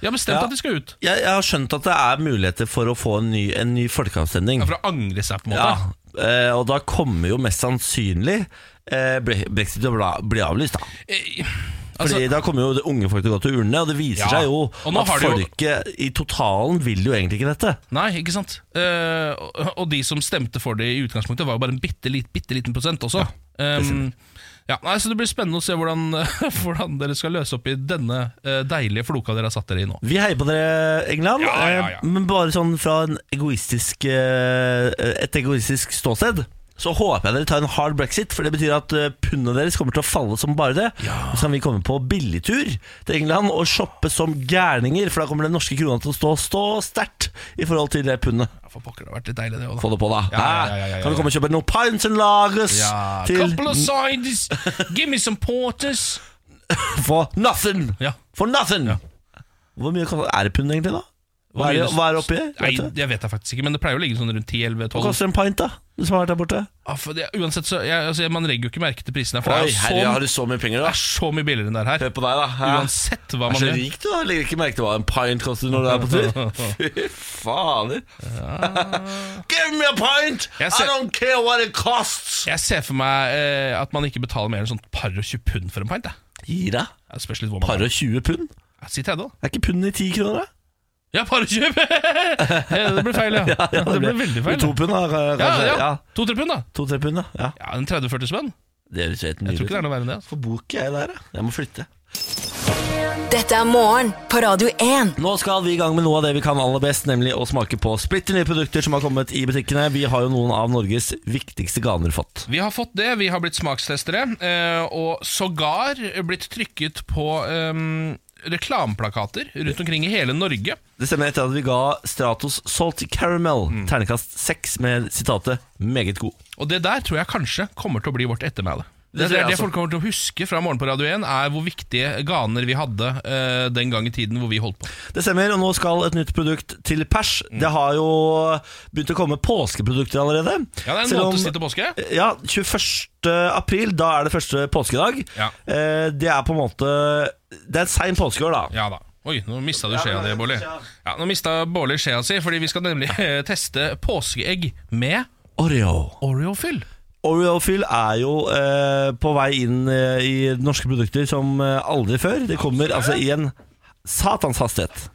Speaker 2: De har bestemt
Speaker 1: Ja.
Speaker 2: at de skal ut.
Speaker 1: Jeg, jeg har skjønt at det er muligheter for å få en ny, en ny folkeavstemning.
Speaker 2: Ja, For å angre seg, på en måte.
Speaker 1: Ja, eh, og da kommer jo mest sannsynlig eh, bre- brexit til å bla- bli avlyst, da.
Speaker 2: Eh,
Speaker 1: Fordi
Speaker 2: altså,
Speaker 1: Da kommer jo det unge folk til å gå til urnene, og det viser
Speaker 2: Ja,
Speaker 1: seg jo
Speaker 2: og nå
Speaker 1: at
Speaker 2: har de jo-
Speaker 1: folket i totalen vil jo egentlig ikke dette.
Speaker 2: nei, ikke sant. Eh, og, og de som stemte for det i utgangspunktet, var jo bare en bitte, lit, bitte liten prosent også. Ja, ja, nei, så Det blir spennende å se hvordan, hvordan dere skal løse opp i denne eh, deilige floka dere har satt dere i nå.
Speaker 1: Vi heier på dere, England,
Speaker 2: Ja, ja, ja.
Speaker 1: eh, men bare sånn fra en egoistisk, eh, et egoistisk ståsted. Så håper jeg dere tar en hard brexit, for det betyr at eh, pundet deres kommer til å falle som bare det. Og Så kan vi komme på billigtur til England og shoppe som gærninger, for da kommer den norske krona til å stå, stå sterkt i forhold til det pundet.
Speaker 2: Ja, for pokker, det har vært litt deilig, det òg, da.
Speaker 1: Få det på, da.
Speaker 2: Ja, ja, ja, ja, ja,
Speaker 1: Kan du komme og kjøpe noen pints and lagers
Speaker 2: Ja,
Speaker 1: til
Speaker 2: couple of sides, give me some porters.
Speaker 1: for nothing?
Speaker 2: Ja.
Speaker 1: For nothing! Hvor mye koster er det pund, egentlig, da? Hva er, det, hva er det oppi?
Speaker 2: Nei,
Speaker 1: Vet du?
Speaker 2: jeg vet det faktisk ikke, men det pleier å ligge sånn rundt 10-11-12.
Speaker 1: Hva koster en pint, da? Du som har vært der borte?
Speaker 2: Ja, Ah, for det- uansett, så jeg, altså, man legger jo ikke merke til prisene her, for det, er jo så,
Speaker 1: du så mye penger,
Speaker 2: det er så mye billigere enn det er her.
Speaker 1: sånn- Hør på deg, da. Hæ?
Speaker 2: Uansett hva
Speaker 1: er
Speaker 2: man
Speaker 1: så
Speaker 2: gjør.
Speaker 1: rik, du, da. Legger ikke merke til hva en pint koster når du er på tur. Fy fader. Give me a pint!
Speaker 2: Jeg
Speaker 1: I
Speaker 2: ser-
Speaker 1: don't care what it costs!
Speaker 2: Jeg ser for meg eh, at man ikke betaler mer enn sånn par og 20 pund for en pint. jeg.
Speaker 1: Gi deg.
Speaker 2: Det spørs litt hvor man
Speaker 1: Par og 20 pund?
Speaker 2: Ja, Si 30, da.
Speaker 1: Er ikke pund i 10 kroner, da?
Speaker 2: Ja, par og 20! Ja, det ble feil, ja. det, ble, veldig feil.
Speaker 1: To pund, da,
Speaker 2: ja,
Speaker 1: kanskje?
Speaker 2: ja.
Speaker 1: Ja,
Speaker 2: To-tre pund, da.
Speaker 1: To-tre pund, da. Ja.
Speaker 2: Ja, en 30-40 spenn.
Speaker 1: Det høres helt
Speaker 2: Jeg tror
Speaker 1: nydelig
Speaker 2: ikke det er
Speaker 1: ut.
Speaker 2: noe verre enn det. altså.
Speaker 1: Hvorfor bor ikke jeg der, da? Jeg må flytte.
Speaker 3: Dette er morgen på Radio 1.
Speaker 1: Nå skal vi i gang med noe av det vi kan aller best, nemlig å smake på splitter nye produkter som har kommet i butikkene. Vi har jo noen av Norges viktigste ganer fått.
Speaker 2: Vi har fått det, vi har blitt smakstestere, eh, og sågar blitt trykket på eh, reklameplakater rundt omkring i hele Norge.
Speaker 1: Det stemmer etter at vi ga Stratos Salty Caramel
Speaker 2: Mm.
Speaker 1: ternekast 6 med sitatet 'meget god'.
Speaker 2: Og det der tror jeg kanskje kommer til å bli vårt ettermæle.
Speaker 1: Det
Speaker 2: Det, det,
Speaker 1: tror jeg
Speaker 2: er det
Speaker 1: også.
Speaker 2: folk kommer til å huske fra Morgen på Radio 1, er hvor viktige ganer vi hadde eh, den gang i tiden hvor vi holdt på.
Speaker 1: Det stemmer, og nå skal et nytt produkt til pers.
Speaker 2: Mm.
Speaker 1: Det har jo begynt å komme påskeprodukter allerede.
Speaker 2: Ja, det er en
Speaker 1: Selv om-
Speaker 2: måneds tid til påske.
Speaker 1: Ja, 21. april, da er det første påskedag.
Speaker 2: Ja.
Speaker 1: Eh, Det er på en måte Det er en sein påskeår, da.
Speaker 2: Ja da. Oi, nå mista du skjea di, Bårli. Ja, nå mista Bårli skjea si, fordi vi skal nemlig eh, teste påskeegg med
Speaker 1: Oreo.
Speaker 2: Oreo-fyll.
Speaker 1: Oreofil er jo eh, på vei inn eh, i norske produkter som eh, aldri før. Det kommer altså i en satans hastighet.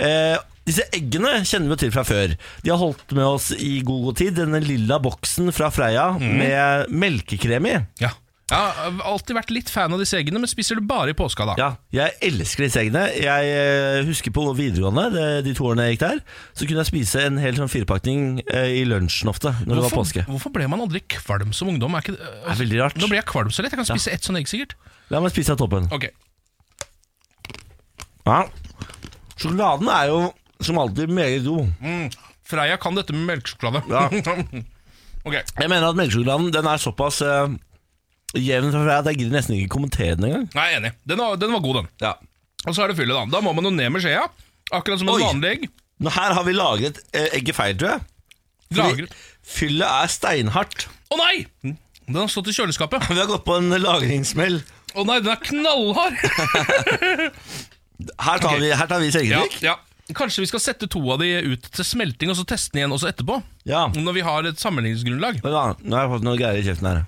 Speaker 1: Eh, disse eggene kjenner vi jo til fra før. De har holdt med oss i god god tid. Denne lilla boksen fra Freia med melkekrem i.
Speaker 2: Ja. Jeg har alltid vært litt fan av disse eggene, men spiser du bare i påska da?
Speaker 1: Ja, jeg elsker disse eggene. Jeg eh, husker på videregående, det, de to årene jeg gikk der, så kunne jeg spise en hel sånn firepakning eh, i lunsjen ofte når det var påske.
Speaker 2: hvorfor ble man aldri kvalm som ungdom? Er ikke, det-
Speaker 1: Det er veldig rart.
Speaker 2: Nå blir jeg kvalm så lett. Jeg kan spise ett sånt egg, sikkert.
Speaker 1: La meg spise av toppen.
Speaker 2: Ok,
Speaker 1: Ja. Sjokoladen er jo som alltid meget god.
Speaker 2: Freia kan dette med melkesjokolade.
Speaker 1: Ja.
Speaker 2: ok,
Speaker 1: Jeg mener at melkesjokoladen den er såpass eh, jevn fra at jeg gidder nesten ikke kommentere den engang.
Speaker 2: Nei, jeg er enig. Den var, den var god, den.
Speaker 1: Ja.
Speaker 2: Og så er det fyllet, da. Da må man jo ned med skjea. Akkurat som en
Speaker 1: Oi.
Speaker 2: vanlig egg.
Speaker 1: Nå, her har vi lagret eh, egget feil, tror jeg. Fordi
Speaker 2: Lagret.
Speaker 1: Fyllet er steinhardt.
Speaker 2: Å nei! Den har stått i kjøleskapet.
Speaker 1: Vi har gått på en lagringssmell.
Speaker 2: Å nei, den er knallhard!
Speaker 1: Her tar
Speaker 2: Ok.
Speaker 1: vi, her tar vi
Speaker 2: Ja,
Speaker 1: selvkritikk.
Speaker 2: ja. Kanskje vi skal sette to av de ut til smelting, og så teste den igjen også etterpå?
Speaker 1: Ja.
Speaker 2: Når vi har et sammenligningsgrunnlag.
Speaker 1: Vent da, Nå har jeg fått noe greier i kjeften her.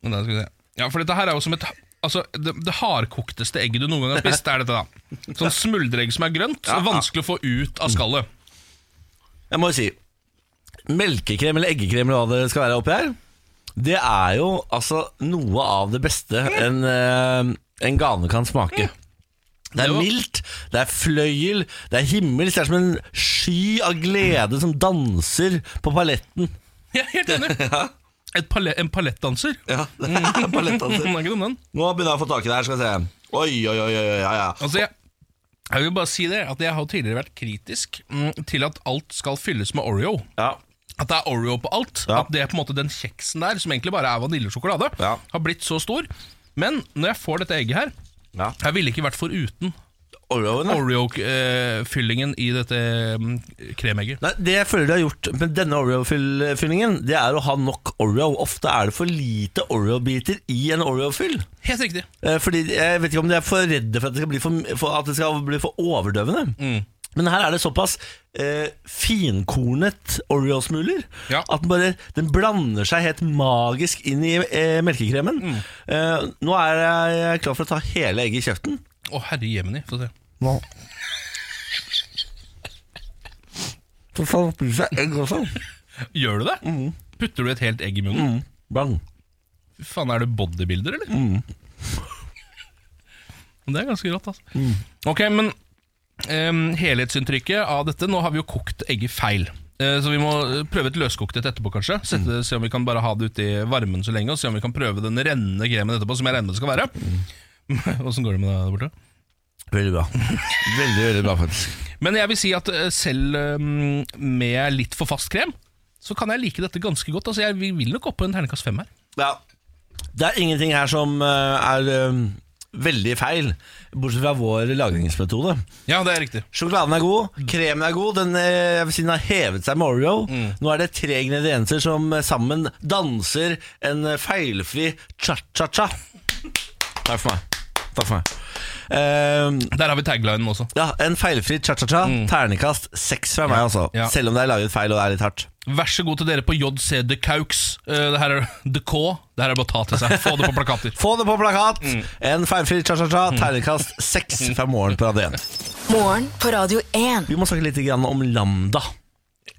Speaker 2: Men da skal vi se. Ja, for dette her er jo som et Altså, det, det hardkokteste egget du noen gang har spist, det er dette, da. Sånn smuldregg som er grønt. så Vanskelig å få ut av skallet.
Speaker 1: Jeg må jo si Melkekrem eller eggekrem eller hva det skal være oppi her, det er jo altså noe av det beste en, eh, en gane kan smake. Det er
Speaker 2: Jo.
Speaker 1: mildt, det er fløyel, det er himmelsk. Det er som en sky av glede som danser på paletten.
Speaker 2: Jeg er helt enig. Et pale- en palettdanser.
Speaker 1: Ja, det er
Speaker 2: Den
Speaker 1: palettdanser.
Speaker 2: er ikke dum, den.
Speaker 1: Mm. Nå begynner jeg å få tak i det her, skal vi se. Oi, oi, oi, oi, ja, ja.
Speaker 2: Altså, jeg, jeg vil bare si det, at jeg har tidligere vært kritisk mm, til at alt skal fylles med Oreo.
Speaker 1: ja.
Speaker 2: At det er Oreo på alt.
Speaker 1: Ja.
Speaker 2: At det er på en måte den kjeksen der, som egentlig bare er vaniljesjokolade,
Speaker 1: Ja.
Speaker 2: har blitt så stor Men når jeg får dette egget her
Speaker 5: Ja.
Speaker 2: Jeg ville ikke vært foruten
Speaker 1: Oreoen, ja.
Speaker 2: Oreo-fyllingen i dette mm, kremegget.
Speaker 1: Nei, Det jeg føler de har gjort med denne Oreo-fyllingen, det er å ha nok Oreo. Ofte er det for lite Oreo-biter i en Oreo-fyll.
Speaker 2: Helt riktig.
Speaker 1: Eh, Fordi Jeg vet ikke om de er for redde for at det skal bli for, for, at det skal bli for overdøvende. Men her er det såpass eh, finkornet Oreo-smuler
Speaker 2: Ja.
Speaker 1: at den, bare, den blander seg helt magisk inn i eh, melkekremen. Eh, nå er jeg klar for å ta hele egget i kjeften.
Speaker 2: Å, herre jemini. Få se.
Speaker 1: Så får man spise egg også.
Speaker 2: Gjør du det? Putter du et helt egg i munnen?
Speaker 1: Bang.
Speaker 2: Fy faen, er du bodybuilder, eller? Men det er ganske rått, altså. Ok, men em, helhetsinntrykket av dette Nå har vi jo kokt egget feil. Eh, Så vi må eh, prøve et løskokt et etterpå, kanskje. Sette, Se om vi kan bare ha det ute i varmen så lenge, og se om vi kan prøve den rennende kremen etterpå, som jeg regner med det skal være. Åssen går det med deg der borte?
Speaker 1: Veldig bra. Veldig, veldig bra, faktisk.
Speaker 2: Men jeg vil si at eh, selv eh, med litt for fast krem, så kan jeg like dette ganske godt. Altså, jeg vi vil nok opp på en terningkast fem her.
Speaker 1: Ja. Det er ingenting her som eh, er eh, veldig feil, bortsett fra vår lagringsmetode.
Speaker 2: Ja, det er riktig.
Speaker 1: Sjokoladen er god,
Speaker 2: Mm.
Speaker 1: kremen er god, den, eh, jeg vil si den har hevet seg med Oreo.
Speaker 2: Mm.
Speaker 1: Nå er det tre ingredienser som eh, sammen danser en eh, feilfri cha-cha-cha. Takk for meg. Takk for meg. Eh,
Speaker 2: Der har vi taglinen også.
Speaker 1: ja, en feilfri cha-cha-cha. Ternekast seks fra meg, altså.
Speaker 2: Mm. ja.
Speaker 1: Selv om det er laget feil og det er litt hardt.
Speaker 2: Vær så god til dere på JC De Caux. Eh, Det her er The K. Det her er bare å ta til seg. Få det på plakater.
Speaker 1: Få det på plakat!
Speaker 2: Mm.
Speaker 1: En feilfri cha-cha-cha. Ternekast seks fra morgen på Radio 1.
Speaker 3: Morgen på Radio 1.
Speaker 1: Vi må snakke litt grann om Lambda.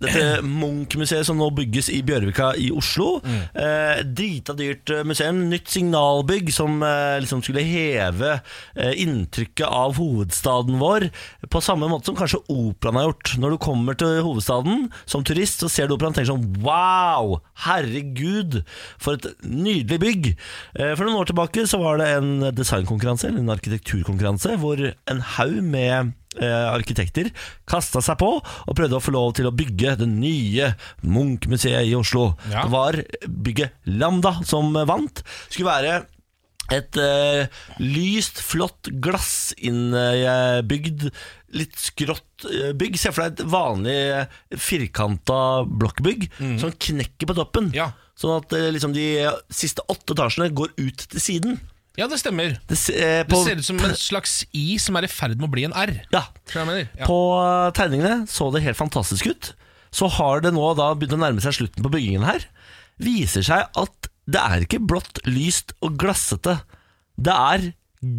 Speaker 1: Dette Munch-museet som nå bygges i Bjørvika i Oslo. Eh, drita dyrt eh, museum. Nytt signalbygg som eh, liksom skulle heve eh, inntrykket av hovedstaden vår. På samme måte som kanskje operaen har gjort. Når du kommer til hovedstaden som turist, så ser du operaen og tenker sånn Wow! Herregud, for et nydelig bygg. Eh, for noen år tilbake så var det en designkonkurranse, eller en arkitekturkonkurranse, hvor en haug med eh, arkitekter kasta seg på og prøvde å få lov til å bygge det nye Munch-museet i Oslo.
Speaker 2: Ja.
Speaker 1: Det var eh, bygget Lambda som eh, vant. Skulle være et eh, lyst, flott, glassinnbygd, litt skrått eh, bygg. Se for deg et vanlig eh, firkanta blokkbygg som knekker på toppen.
Speaker 2: Mhm. Ja.
Speaker 1: Sånn at eh, liksom de siste åtte etasjene går ut til siden.
Speaker 2: Ja, det stemmer.
Speaker 1: Det, se- eh,
Speaker 2: Det
Speaker 1: på-
Speaker 2: ser ut som en slags I som er i ferd med å bli en R.
Speaker 1: ja,
Speaker 2: Skjønner du hva jeg mener? Ja.
Speaker 1: På eh, tegningene så det helt fantastisk ut. Så har det nå da begynt å nærme seg slutten på byggingen her. Viser seg at det er ikke blått, lyst og glassete. Det er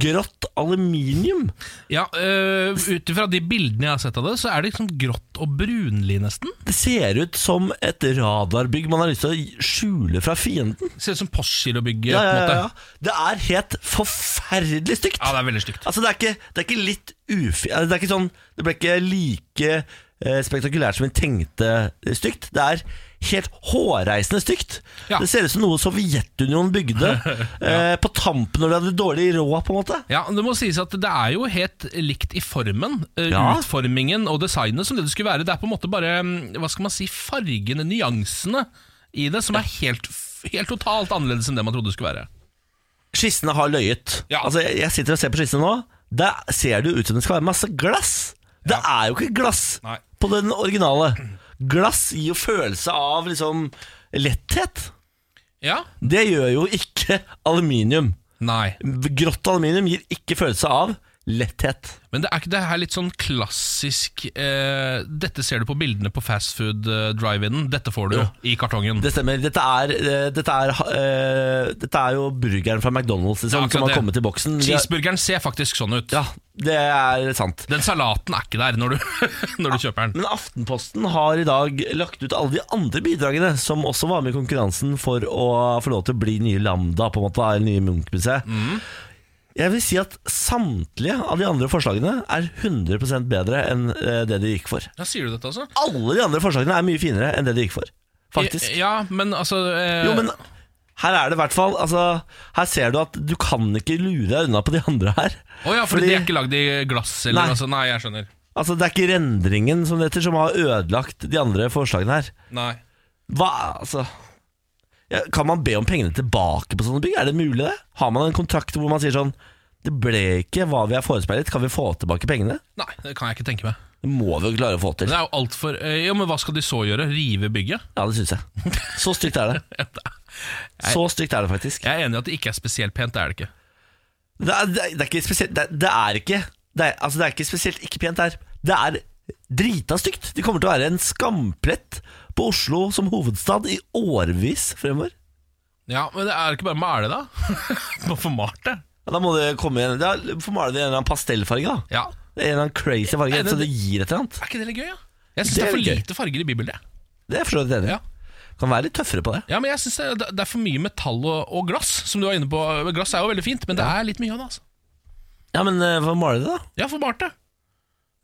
Speaker 1: grått aluminium.
Speaker 2: Ja, øh, Ut ifra de bildene jeg har sett av det, så er det liksom grått og brunlig, nesten.
Speaker 1: Det ser ut som et radarbygg man har lyst til å skjule fra fienden.
Speaker 2: Ser ut som Postgirobygget.
Speaker 1: Ja, ja,
Speaker 2: på en
Speaker 1: ja,
Speaker 2: måte.
Speaker 1: ja. Det er helt forferdelig stygt.
Speaker 2: ja, det er veldig stygt.
Speaker 1: Altså det er ikke, det er ikke litt ufi... altså, Det er ikke sånn Det ble ikke like eh, spektakulært som vi tenkte eh, stygt. Det er helt hårreisende stygt.
Speaker 2: Ja.
Speaker 1: Det ser ut som noe Sovjetunionen bygde eh, på tampen når de hadde dårlig råd, på en måte.
Speaker 2: Ja, Det må sies at det er jo helt likt i formen. eh,
Speaker 1: Ja.
Speaker 2: Utformingen og designet som det det skulle være. Det er på en måte bare mm, hva skal man si, fargene, nyansene i det, som er helt, f- helt totalt annerledes enn det man trodde det skulle være.
Speaker 1: Skissene har løyet.
Speaker 2: Ja.
Speaker 1: Altså, jeg, jeg sitter og ser på skissene nå. Der ser det jo ut som det skal være masse glass. Det er jo ikke glass
Speaker 2: Nei.
Speaker 1: på den originale. Glass gir jo følelse av liksom letthet.
Speaker 2: Ja?
Speaker 1: Det gjør jo ikke aluminium.
Speaker 2: Nei.
Speaker 1: Grått aluminium gir ikke følelse av letthet.
Speaker 2: Men det er ikke det her litt sånn klassisk eh, Dette ser du på bildene på fastfood eh, drive-in. Dette får du i kartongen.
Speaker 1: Det stemmer. Dette er, eh, dette er, eh, dette er jo burgeren fra McDonald's liksom,
Speaker 2: Ja, akkurat
Speaker 1: som har
Speaker 2: det.
Speaker 1: kommet i boksen. Vi har-
Speaker 2: Cheeseburgeren ser faktisk sånn ut.
Speaker 1: Ja, det er sant.
Speaker 2: Den salaten er ikke der når du, når du kjøper den.
Speaker 1: Men Aftenposten har i dag lagt ut alle de andre bidragene som også var med i konkurransen for å få lov til å bli nye Lambda, på en måte, eller nye Munch-museet.
Speaker 2: Mm.
Speaker 1: Jeg vil si at samtlige av de andre forslagene er 100 bedre enn eh, det de gikk for.
Speaker 2: Ja, sier du dette, altså?
Speaker 1: Alle de andre forslagene er mye finere enn det de gikk for, faktisk.
Speaker 2: Ja, men altså eh,
Speaker 1: Jo, men her er det i hvert fall altså, Her ser du at du kan ikke lure deg unna på de andre her.
Speaker 2: Å ja, for
Speaker 1: Fordi-
Speaker 2: de er ikke lagd i glass? Eller,
Speaker 1: Nei.
Speaker 2: nei. Altså, nei, jeg skjønner.
Speaker 1: Altså, Det er ikke rendringen som det heter som har ødelagt de andre forslagene her.
Speaker 2: Nei.
Speaker 1: Hva, altså Ja, Kan man be om pengene tilbake på sånne bygg? Er det mulig, det? Har man en kontrakt hvor man sier sånn Det ble ikke hva vi er forespeilet, kan vi få tilbake pengene?
Speaker 2: Nei, det kan jeg ikke tenke meg.
Speaker 1: Det må vi jo klare å få til.
Speaker 2: Men det er jo altfor Ja, men hva skal de så gjøre? Rive bygget?
Speaker 1: Ja, det syns jeg. Så stygt er det. Så stygt er det faktisk.
Speaker 2: Jeg er enig i at det ikke er spesielt pent, det er det ikke.
Speaker 1: Det er, det er- det er ikke spesielt Det er, det er ikke det er, Altså, det er ikke spesielt ikke pent her. Det er drita stygt. Det kommer til å være en skamplett på Oslo som hovedstad i årevis fremover.
Speaker 2: Ja, men det er ikke bare å male, da? Må få malt det.
Speaker 1: Ja, da må det komme igjen Da får male det i en eller annen pastellfarge, da.
Speaker 2: Ja.
Speaker 1: En eller annen crazy farge,
Speaker 2: men
Speaker 1: så det gir et eller annet.
Speaker 2: Er ikke det litt gøy, da? Jeg syns
Speaker 1: Det
Speaker 2: det,
Speaker 1: er
Speaker 2: er for
Speaker 1: litt gøy.
Speaker 2: lite farger i bybildet.
Speaker 1: Det er jeg for så vidt enig i.
Speaker 2: Ja.
Speaker 1: Kan være litt tøffere på det.
Speaker 2: Ja, men jeg synes det, det er for mye metall og, og glass, som du var inne på. Glass er jo veldig fint, men det er litt mye av det, altså.
Speaker 1: Ja, men eh, hva maler de, da?
Speaker 2: Ja, få malt det.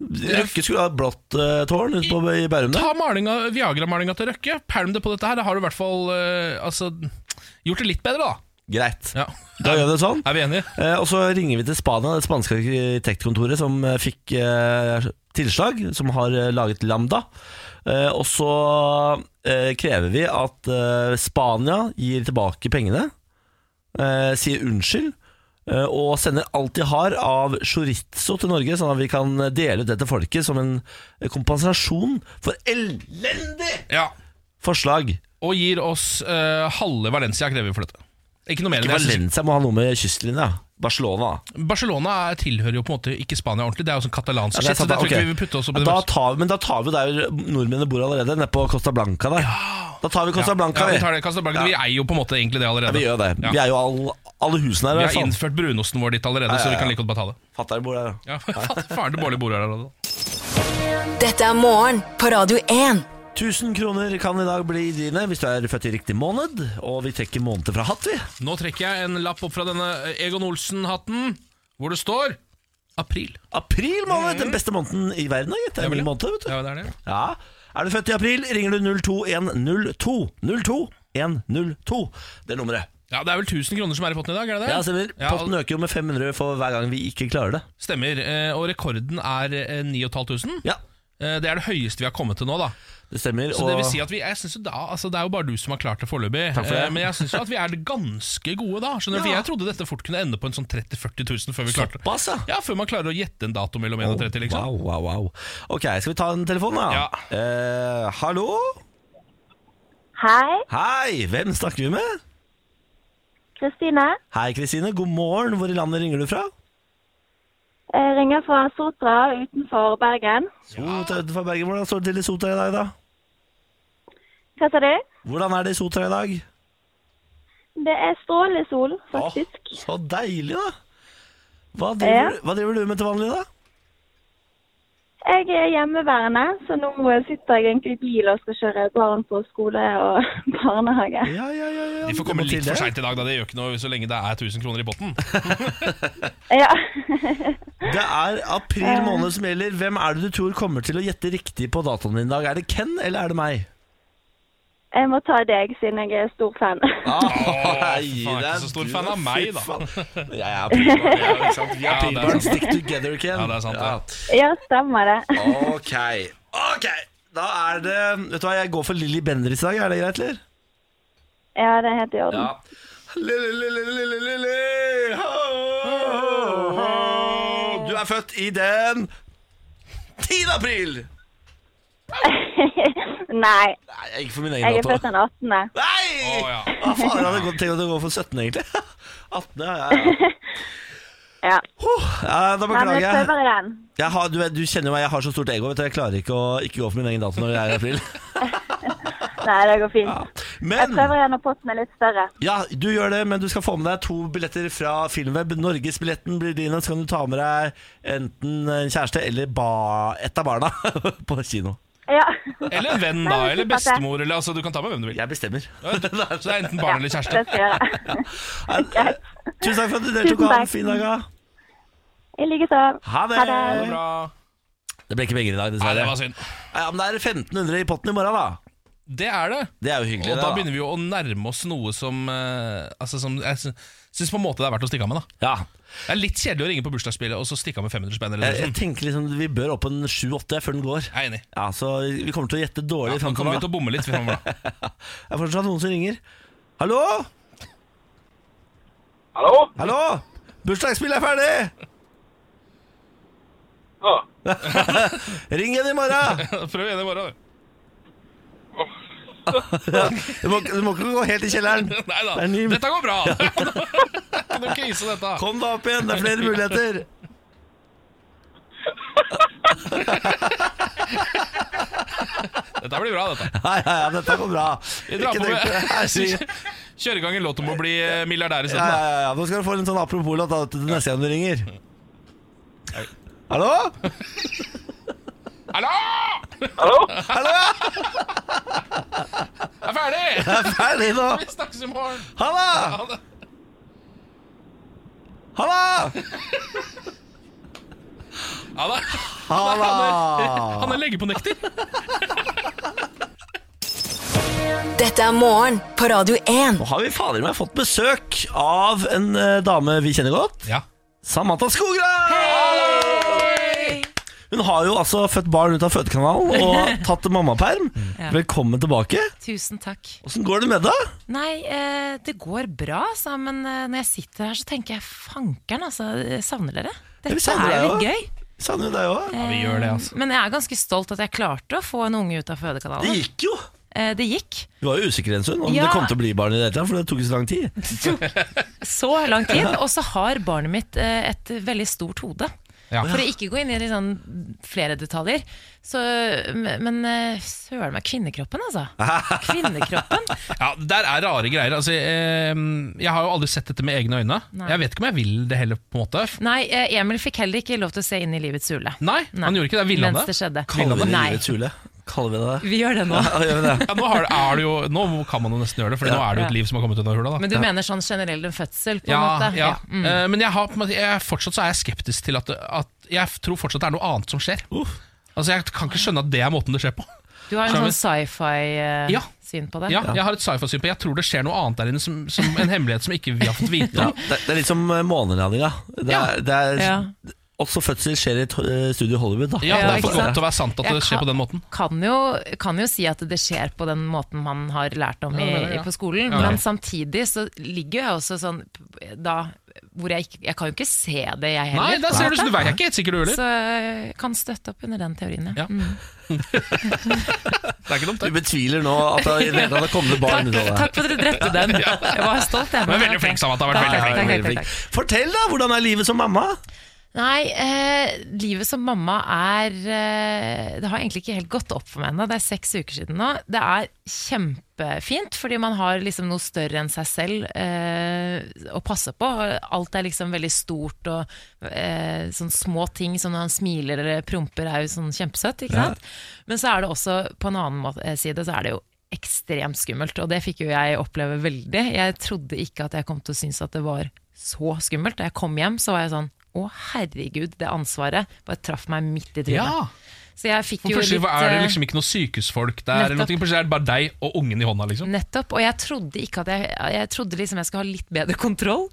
Speaker 1: Røkke skulle ha et blått eh, tårn ute på i Bærum der.
Speaker 2: Ta malinga- Viagra-malinga til Røkke, pælm det på dette her. Da har du i hvert fall eh, altså, gjort det litt bedre, da.
Speaker 1: Greit.
Speaker 2: Ja.
Speaker 1: Da gjør vi det sånn.
Speaker 2: Er vi enige?
Speaker 1: Eh, og så ringer vi til Spania, det spanske arkitektkontoret som eh, fikk eh, tilslag, som har eh, laget Lambda. Eh, og så eh, krever vi at eh, Spania gir tilbake pengene, eh, sier unnskyld, eh, og sender alt de har av chorizo til Norge, sånn at vi kan dele ut det til folket som en eh, kompensasjon for elendig
Speaker 2: Ja.
Speaker 1: forslag.
Speaker 2: Og gir oss eh, halve Valencia krever vi for dette. Ikke noe mer enn det. Jeg synes-
Speaker 1: Valencia må ha noe med kystlinja. Barcelona.
Speaker 2: Barcelona er, tilhører jo på en måte ikke Spania ordentlig. Det er jo sånn katalansk
Speaker 1: Ja, det er
Speaker 2: shit, så
Speaker 1: sant,
Speaker 2: det tror jeg
Speaker 1: ok.
Speaker 2: ikke vi vil putte oss opp i
Speaker 1: Ja,
Speaker 2: det.
Speaker 1: da
Speaker 2: meste.
Speaker 1: tar vi, Men da tar vi der nordmennene bor allerede, nede på Costa Blanca der. Da tar vi Costa Blanca,
Speaker 2: ja,
Speaker 1: vi.
Speaker 2: vi, tar det, Costa Blanca. vi eier jo på en måte egentlig det allerede.
Speaker 1: vi gjør det.
Speaker 2: Ja.
Speaker 1: Vi sånn. er jo all, alle husene her.
Speaker 2: Vi
Speaker 1: i hvert
Speaker 2: har
Speaker 1: fall.
Speaker 2: innført brunosten vår dit allerede, så vi kan like godt bare ta det.
Speaker 1: Fatter'n bor der, ja.
Speaker 2: Ja, Faren til Bårli bor her allerede.
Speaker 3: Dette er morgen på Radio 1.
Speaker 1: 1000 kroner kan i dag bli dine hvis du er født i riktig måned. Og vi trekker måneder fra hatt, vi.
Speaker 2: Nå trekker jeg en lapp opp fra denne eh, Egon Olsen-hatten, hvor det står april.
Speaker 1: April måned! Den beste måneden i verden, har gitt. Det er
Speaker 2: Ja,
Speaker 1: en
Speaker 2: vel,
Speaker 1: ny måned, vet du.
Speaker 2: Ja, det er det.
Speaker 1: Ja. Er du født i april, ringer du 02102. 02102. Det er nummeret.
Speaker 2: Ja, det er vel 1000 kroner som er i potten i dag, er det det?
Speaker 1: Ja, stemmer.
Speaker 2: Ja,
Speaker 1: Potten øker jo med 500 for hver gang vi ikke klarer det.
Speaker 2: stemmer. Eh, Og rekorden er eh, 9500.
Speaker 1: Ja,
Speaker 2: Eh, Det er det høyeste vi har kommet til nå, da.
Speaker 1: det stemmer.
Speaker 2: Så det vil
Speaker 1: og-
Speaker 2: si at vi, jeg synes jo da, altså det er jo bare du som har klart det foreløpig.
Speaker 1: Takk for det.
Speaker 2: Eh, Men jeg syns jo at vi er ganske gode da. Skjønner du? For jeg trodde dette fort kunne ende på en sånn 30 000-40 000 før vi klarte det.
Speaker 1: Såpass, ja.
Speaker 2: Ja, før man klarer å gjette en dato mellom 1 og 30, liksom.
Speaker 1: Wow, wow, wow. Ok, skal vi ta en telefon, da?
Speaker 2: Ja.
Speaker 1: Eh, hallo?
Speaker 5: Hei,
Speaker 1: Hei, hvem snakker vi med?
Speaker 5: Kristine.
Speaker 1: Hei, Kristine. God morgen. Hvor i landet ringer du fra?
Speaker 5: Jeg ringer fra Sotra utenfor Bergen.
Speaker 1: Sotra utenfor Bergen. Hvordan står det til i Sotra i dag, da?
Speaker 5: Hva sa du?
Speaker 1: Hvordan er det i Sotra i dag?
Speaker 5: Det er strålende sol,
Speaker 1: Åh,
Speaker 5: faktisk.
Speaker 1: så deilig, da. Hva driver,
Speaker 5: Ja.
Speaker 1: du- hva driver du med til vanlig, da?
Speaker 5: Jeg er hjemmeværende, så nå sitter jeg egentlig i bil og skal kjøre barn på skole og barnehage.
Speaker 1: Ja, ja, ja. ja.
Speaker 2: De
Speaker 1: Du
Speaker 2: får komme
Speaker 1: må
Speaker 2: litt
Speaker 1: til
Speaker 2: for
Speaker 1: det.
Speaker 2: seint i dag, da. Det gjør ikke noe så lenge det er 1000 kroner i potten.
Speaker 5: Ja.
Speaker 1: Det er april måned som gjelder. Hvem er det du tror kommer til å gjette riktig på datoen din i dag? Er det Ken, eller er det meg?
Speaker 5: Jeg må ta deg, siden jeg er stor fan.
Speaker 1: Ah,
Speaker 2: faen, jeg er ikke så stor fan av meg, da.
Speaker 1: Jeg er aprilbarn, ja, ikke sant? Vi er
Speaker 2: Ja, det er
Speaker 1: aprilbarn.
Speaker 2: sant.
Speaker 1: Stick together, Ken.
Speaker 2: Ja, det er sant, det.
Speaker 5: Ja, stemmer det.
Speaker 1: Ja. Ok. Ok, da er det Vet du hva, jeg går for Lilly Bendriss i dag. Er det greit, eller?
Speaker 5: Ja, det er helt i orden.
Speaker 1: Lilly, Lilly, Lilly, Lilly. Ho, ho, ho. Du er født i den 10. april!
Speaker 5: Nei,
Speaker 1: Nei, jeg gikk for min
Speaker 5: jeg
Speaker 1: egen
Speaker 5: er født
Speaker 1: dato.
Speaker 5: den 18.
Speaker 1: Nei!
Speaker 2: Å, ja.
Speaker 1: Hva faen, jeg hadde godt tenkt at jeg går for 17, egentlig. 18, ja, ja, ja.
Speaker 5: Ja.
Speaker 1: Oh, ja da
Speaker 5: Men
Speaker 1: beklager
Speaker 5: jeg
Speaker 1: jeg.
Speaker 5: prøver igjen.
Speaker 1: Jeg har, du, vet- du kjenner jo meg, jeg har så stort ego. Vet du, jeg klarer ikke å ikke gå for min egen dato når det er i april.
Speaker 5: Nei, det går fint. Jeg
Speaker 1: Men
Speaker 5: prøver igjen når potten er litt større.
Speaker 1: ja, du gjør det, men du skal få med deg to billetter fra Filmweb. Norgesbilletten blir din, og så kan du ta med deg enten en kjæreste eller ba, et av barna på kino.
Speaker 5: Ja.
Speaker 2: Eller en venn, da.
Speaker 5: Nei,
Speaker 2: Eller
Speaker 5: supert, det.
Speaker 2: bestemor. Eller, altså, du kan ta med hvem du vil.
Speaker 1: Jeg bestemmer.
Speaker 2: Så det er enten
Speaker 5: Ja,
Speaker 2: barn eller
Speaker 5: Det
Speaker 2: kjæreste.
Speaker 5: skal jeg gjøre.
Speaker 1: Nei, Tusen takk for at du deltok.
Speaker 5: Tusen
Speaker 1: Ha en
Speaker 5: takk.
Speaker 1: fin dag. da.
Speaker 5: I like så.
Speaker 1: Ha det.
Speaker 5: Ha
Speaker 2: Ha
Speaker 5: det.
Speaker 2: det bra.
Speaker 1: Det ble ikke penger i dag,
Speaker 2: Nei,
Speaker 1: dessverre.
Speaker 2: det var synd.
Speaker 1: Ja, men det er 1500 i potten i morgen, da.
Speaker 2: Det er det.
Speaker 1: Det er jo hyggelig.
Speaker 2: Og
Speaker 1: det, da.
Speaker 2: da begynner vi jo å nærme oss noe som eh, Altså som jeg sy- syns på en måte det er verdt å stikke av med. da
Speaker 1: Ja.
Speaker 2: Det er litt kjedelig å ringe på bursdagsspillet og så stikke av med 500 spenn.
Speaker 1: Jeg,
Speaker 2: Eller
Speaker 1: jeg
Speaker 2: noe sånt.
Speaker 1: tenker liksom vi bør opp en 7-8 før den går.
Speaker 2: Jeg er enig.
Speaker 1: Ja, Så vi kommer til å gjette
Speaker 2: Ja,
Speaker 1: dårlig.
Speaker 2: nå
Speaker 1: frem til
Speaker 2: kommer
Speaker 1: morgen.
Speaker 2: vi til å bomme litt fremover, da.
Speaker 1: Det er fortsatt noen som ringer. Hallo?
Speaker 6: Hallo?
Speaker 1: Hallo? Bursdagsspillet er ferdig!
Speaker 6: Ja.
Speaker 1: Ring igjen i morgen!
Speaker 2: Prøv igjen i morgen, du.
Speaker 1: Du må, du må ikke gå helt i kjelleren.
Speaker 2: Nei da.
Speaker 1: Det er ny-
Speaker 2: Dette går bra! Det er ikke noe krise, dette.
Speaker 1: Kom deg opp igjen, det er flere muligheter.
Speaker 2: Dette blir bra, dette.
Speaker 1: Ja, ja, ja, dette går bra.
Speaker 2: Vi drar
Speaker 1: Ikke
Speaker 2: på
Speaker 1: tenk på det. Nei, si-
Speaker 2: med Kjøre i gang en låt om å bli eh, milliardær
Speaker 1: Ja,
Speaker 2: isteden. da.
Speaker 1: ja, ja. Nå skal du få en sånn apropos-låt da, til neste gang du ringer. Hallo?
Speaker 2: Hallo!
Speaker 6: Hallo?
Speaker 1: Hallo, ja!
Speaker 2: Jeg er ferdig!
Speaker 1: Jeg er ferdig nå.
Speaker 2: Vi snakkes i morgen.
Speaker 1: Halla!
Speaker 2: Ha det.
Speaker 1: Halla!
Speaker 2: Ja, da. Han, er, han
Speaker 1: Halla!
Speaker 2: er leggeponekter.
Speaker 3: Dette er morgen på Radio 1.
Speaker 1: Nå har vi fader meg fått besøk av en eh, dame vi kjenner godt.
Speaker 2: Ja.
Speaker 1: Samantha Skogran! Hun har jo altså født barn ut av fødekanalen og tatt mammaperm.
Speaker 7: Ja.
Speaker 1: Velkommen tilbake.
Speaker 7: Tusen takk.
Speaker 1: Åssen går det med deg?
Speaker 7: Nei, eh, det går bra, sa han, men eh, når jeg sitter her, så tenker jeg fankeren, altså. jeg Savner dere?
Speaker 1: vi
Speaker 7: Dette
Speaker 1: savner
Speaker 7: er jo
Speaker 1: deg
Speaker 7: litt gøy.
Speaker 1: Savner jo deg
Speaker 7: Eh.
Speaker 1: òg.
Speaker 2: vi gjør det, altså.
Speaker 7: Men jeg er ganske stolt at jeg klarte å få en unge ut av
Speaker 1: Det
Speaker 7: fødekanalen.
Speaker 1: gikk jo.
Speaker 7: Eh, det gikk
Speaker 1: Du var jo usikker en stund om
Speaker 7: Ja.
Speaker 1: det kom til å bli barn i det hele tatt, for det tok jo så lang tid.
Speaker 7: så lang tid, og så har barnet mitt eh, et veldig stort hode.
Speaker 2: Ja.
Speaker 7: For å ikke gå inn i de sånn flere detaljer. Så, men eh, søren meg, kvinnekroppen, altså. Kvinnekroppen.
Speaker 2: Ja, Der er rare greier. Altså, eh, jeg har jo aldri sett dette med egne øyne.
Speaker 7: Nei.
Speaker 2: Jeg vet ikke om jeg vil det heller. på en måte
Speaker 7: Nei, eh, Emil fikk heller ikke lov til å se inn i livets hule.
Speaker 2: Nei, han gjorde ikke det. Ville han
Speaker 7: Mens det
Speaker 2: det?
Speaker 7: skjedde.
Speaker 1: Kaller vi det
Speaker 7: Nei,
Speaker 1: livets hule? Kaller vi det det?
Speaker 7: vi gjør det nå.
Speaker 1: Ja, gjør vi det?
Speaker 2: Ja, nå, har, det- er det jo, nå kan man jo nesten gjøre det, for nå er det jo et
Speaker 7: Ja.
Speaker 2: liv som har kommet ut av hula. Da.
Speaker 7: Men du mener sånn generell en fødsel, på en
Speaker 2: ja,
Speaker 7: måte?
Speaker 2: ja.
Speaker 7: Mm.
Speaker 2: Eh, Men jeg, har, på en måte- jeg, fortsatt så er jeg skeptisk til at, at Jeg tror fortsatt det er noe annet som skjer. Altså, Jeg kan ikke skjønne at det er måten det skjer på.
Speaker 7: Du har en
Speaker 2: Skjønner.
Speaker 7: sånn sci-fi-syn
Speaker 2: Ja.
Speaker 7: på det?
Speaker 2: Ja, Jeg har et sci-fi-syn på Jeg tror det skjer noe annet der inne som, som en hemmelighet som ikke vi har fått vite
Speaker 1: Ja,
Speaker 2: om.
Speaker 1: det, det er litt som eh, månelandinga. Det
Speaker 2: Ja.
Speaker 1: er, det er,
Speaker 7: Ja.
Speaker 1: Også fødsel skjer i et eh, studio i Hollywood. Da.
Speaker 2: Ja, Det er
Speaker 7: ikke
Speaker 2: for
Speaker 7: sant?
Speaker 2: godt til å være sant at
Speaker 7: Jeg
Speaker 2: det skjer
Speaker 7: kan-
Speaker 2: på den måten.
Speaker 7: Kan jo, kan jo si at det skjer på den måten man har lært om i,
Speaker 2: Ja, det er det, ja.
Speaker 7: på skolen,
Speaker 2: Ja.
Speaker 7: men samtidig så ligger jo jeg også sånn da hvor jeg ikke Jeg kan jo ikke se det, jeg heller.
Speaker 2: Nei, der ser du,
Speaker 7: på en
Speaker 2: så du
Speaker 7: måte.
Speaker 2: veit ikke helt sikkert du heller.
Speaker 7: Så jeg kan støtte opp under den teorien,
Speaker 2: Ja. Det er ikke dumt,
Speaker 1: Du
Speaker 2: det.
Speaker 1: betviler nå at det i det hele tatt har kommet barn ut av det.
Speaker 7: Takk for at dere drepte den. Jeg var stolt, jeg.
Speaker 2: Du er veldig flink, Samantha. Du har
Speaker 7: Takk,
Speaker 2: Vært veldig flink.
Speaker 7: takk, takk,
Speaker 1: Veldig flink.
Speaker 7: takk, takk.
Speaker 1: Fortell, da! Hvordan er livet som mamma?
Speaker 7: Nei, eh, livet som mamma er eh, Det har egentlig ikke helt gått opp for meg ennå. Det er seks uker siden nå. Det er kjempefint, fordi man har liksom noe større enn seg selv eh, å passe på. Alt er liksom veldig stort, og eh, sånne små ting som når han smiler eller promper, er jo sånn kjempesøtt. ikke sant? Men så er det også, på en annen måte, eh, side, så er det jo ekstremt skummelt, og det fikk jo jeg oppleve veldig. Jeg trodde ikke at jeg kom til å synes at det var så skummelt. Da jeg kom hjem, så var jeg sånn å, herregud, det ansvaret bare traff meg midt i
Speaker 2: Ja,
Speaker 7: trynet. Så jeg fikk
Speaker 2: for
Speaker 7: jo
Speaker 2: plutselig
Speaker 7: litt
Speaker 2: er det
Speaker 7: eh,
Speaker 2: liksom ikke noe sykehusfolk der, eller
Speaker 7: Nettopp.
Speaker 2: noe, plutselig er det bare deg og ungen i hånda. liksom
Speaker 7: Nettopp. Og jeg trodde ikke at jeg Jeg trodde liksom jeg skulle ha litt bedre kontroll.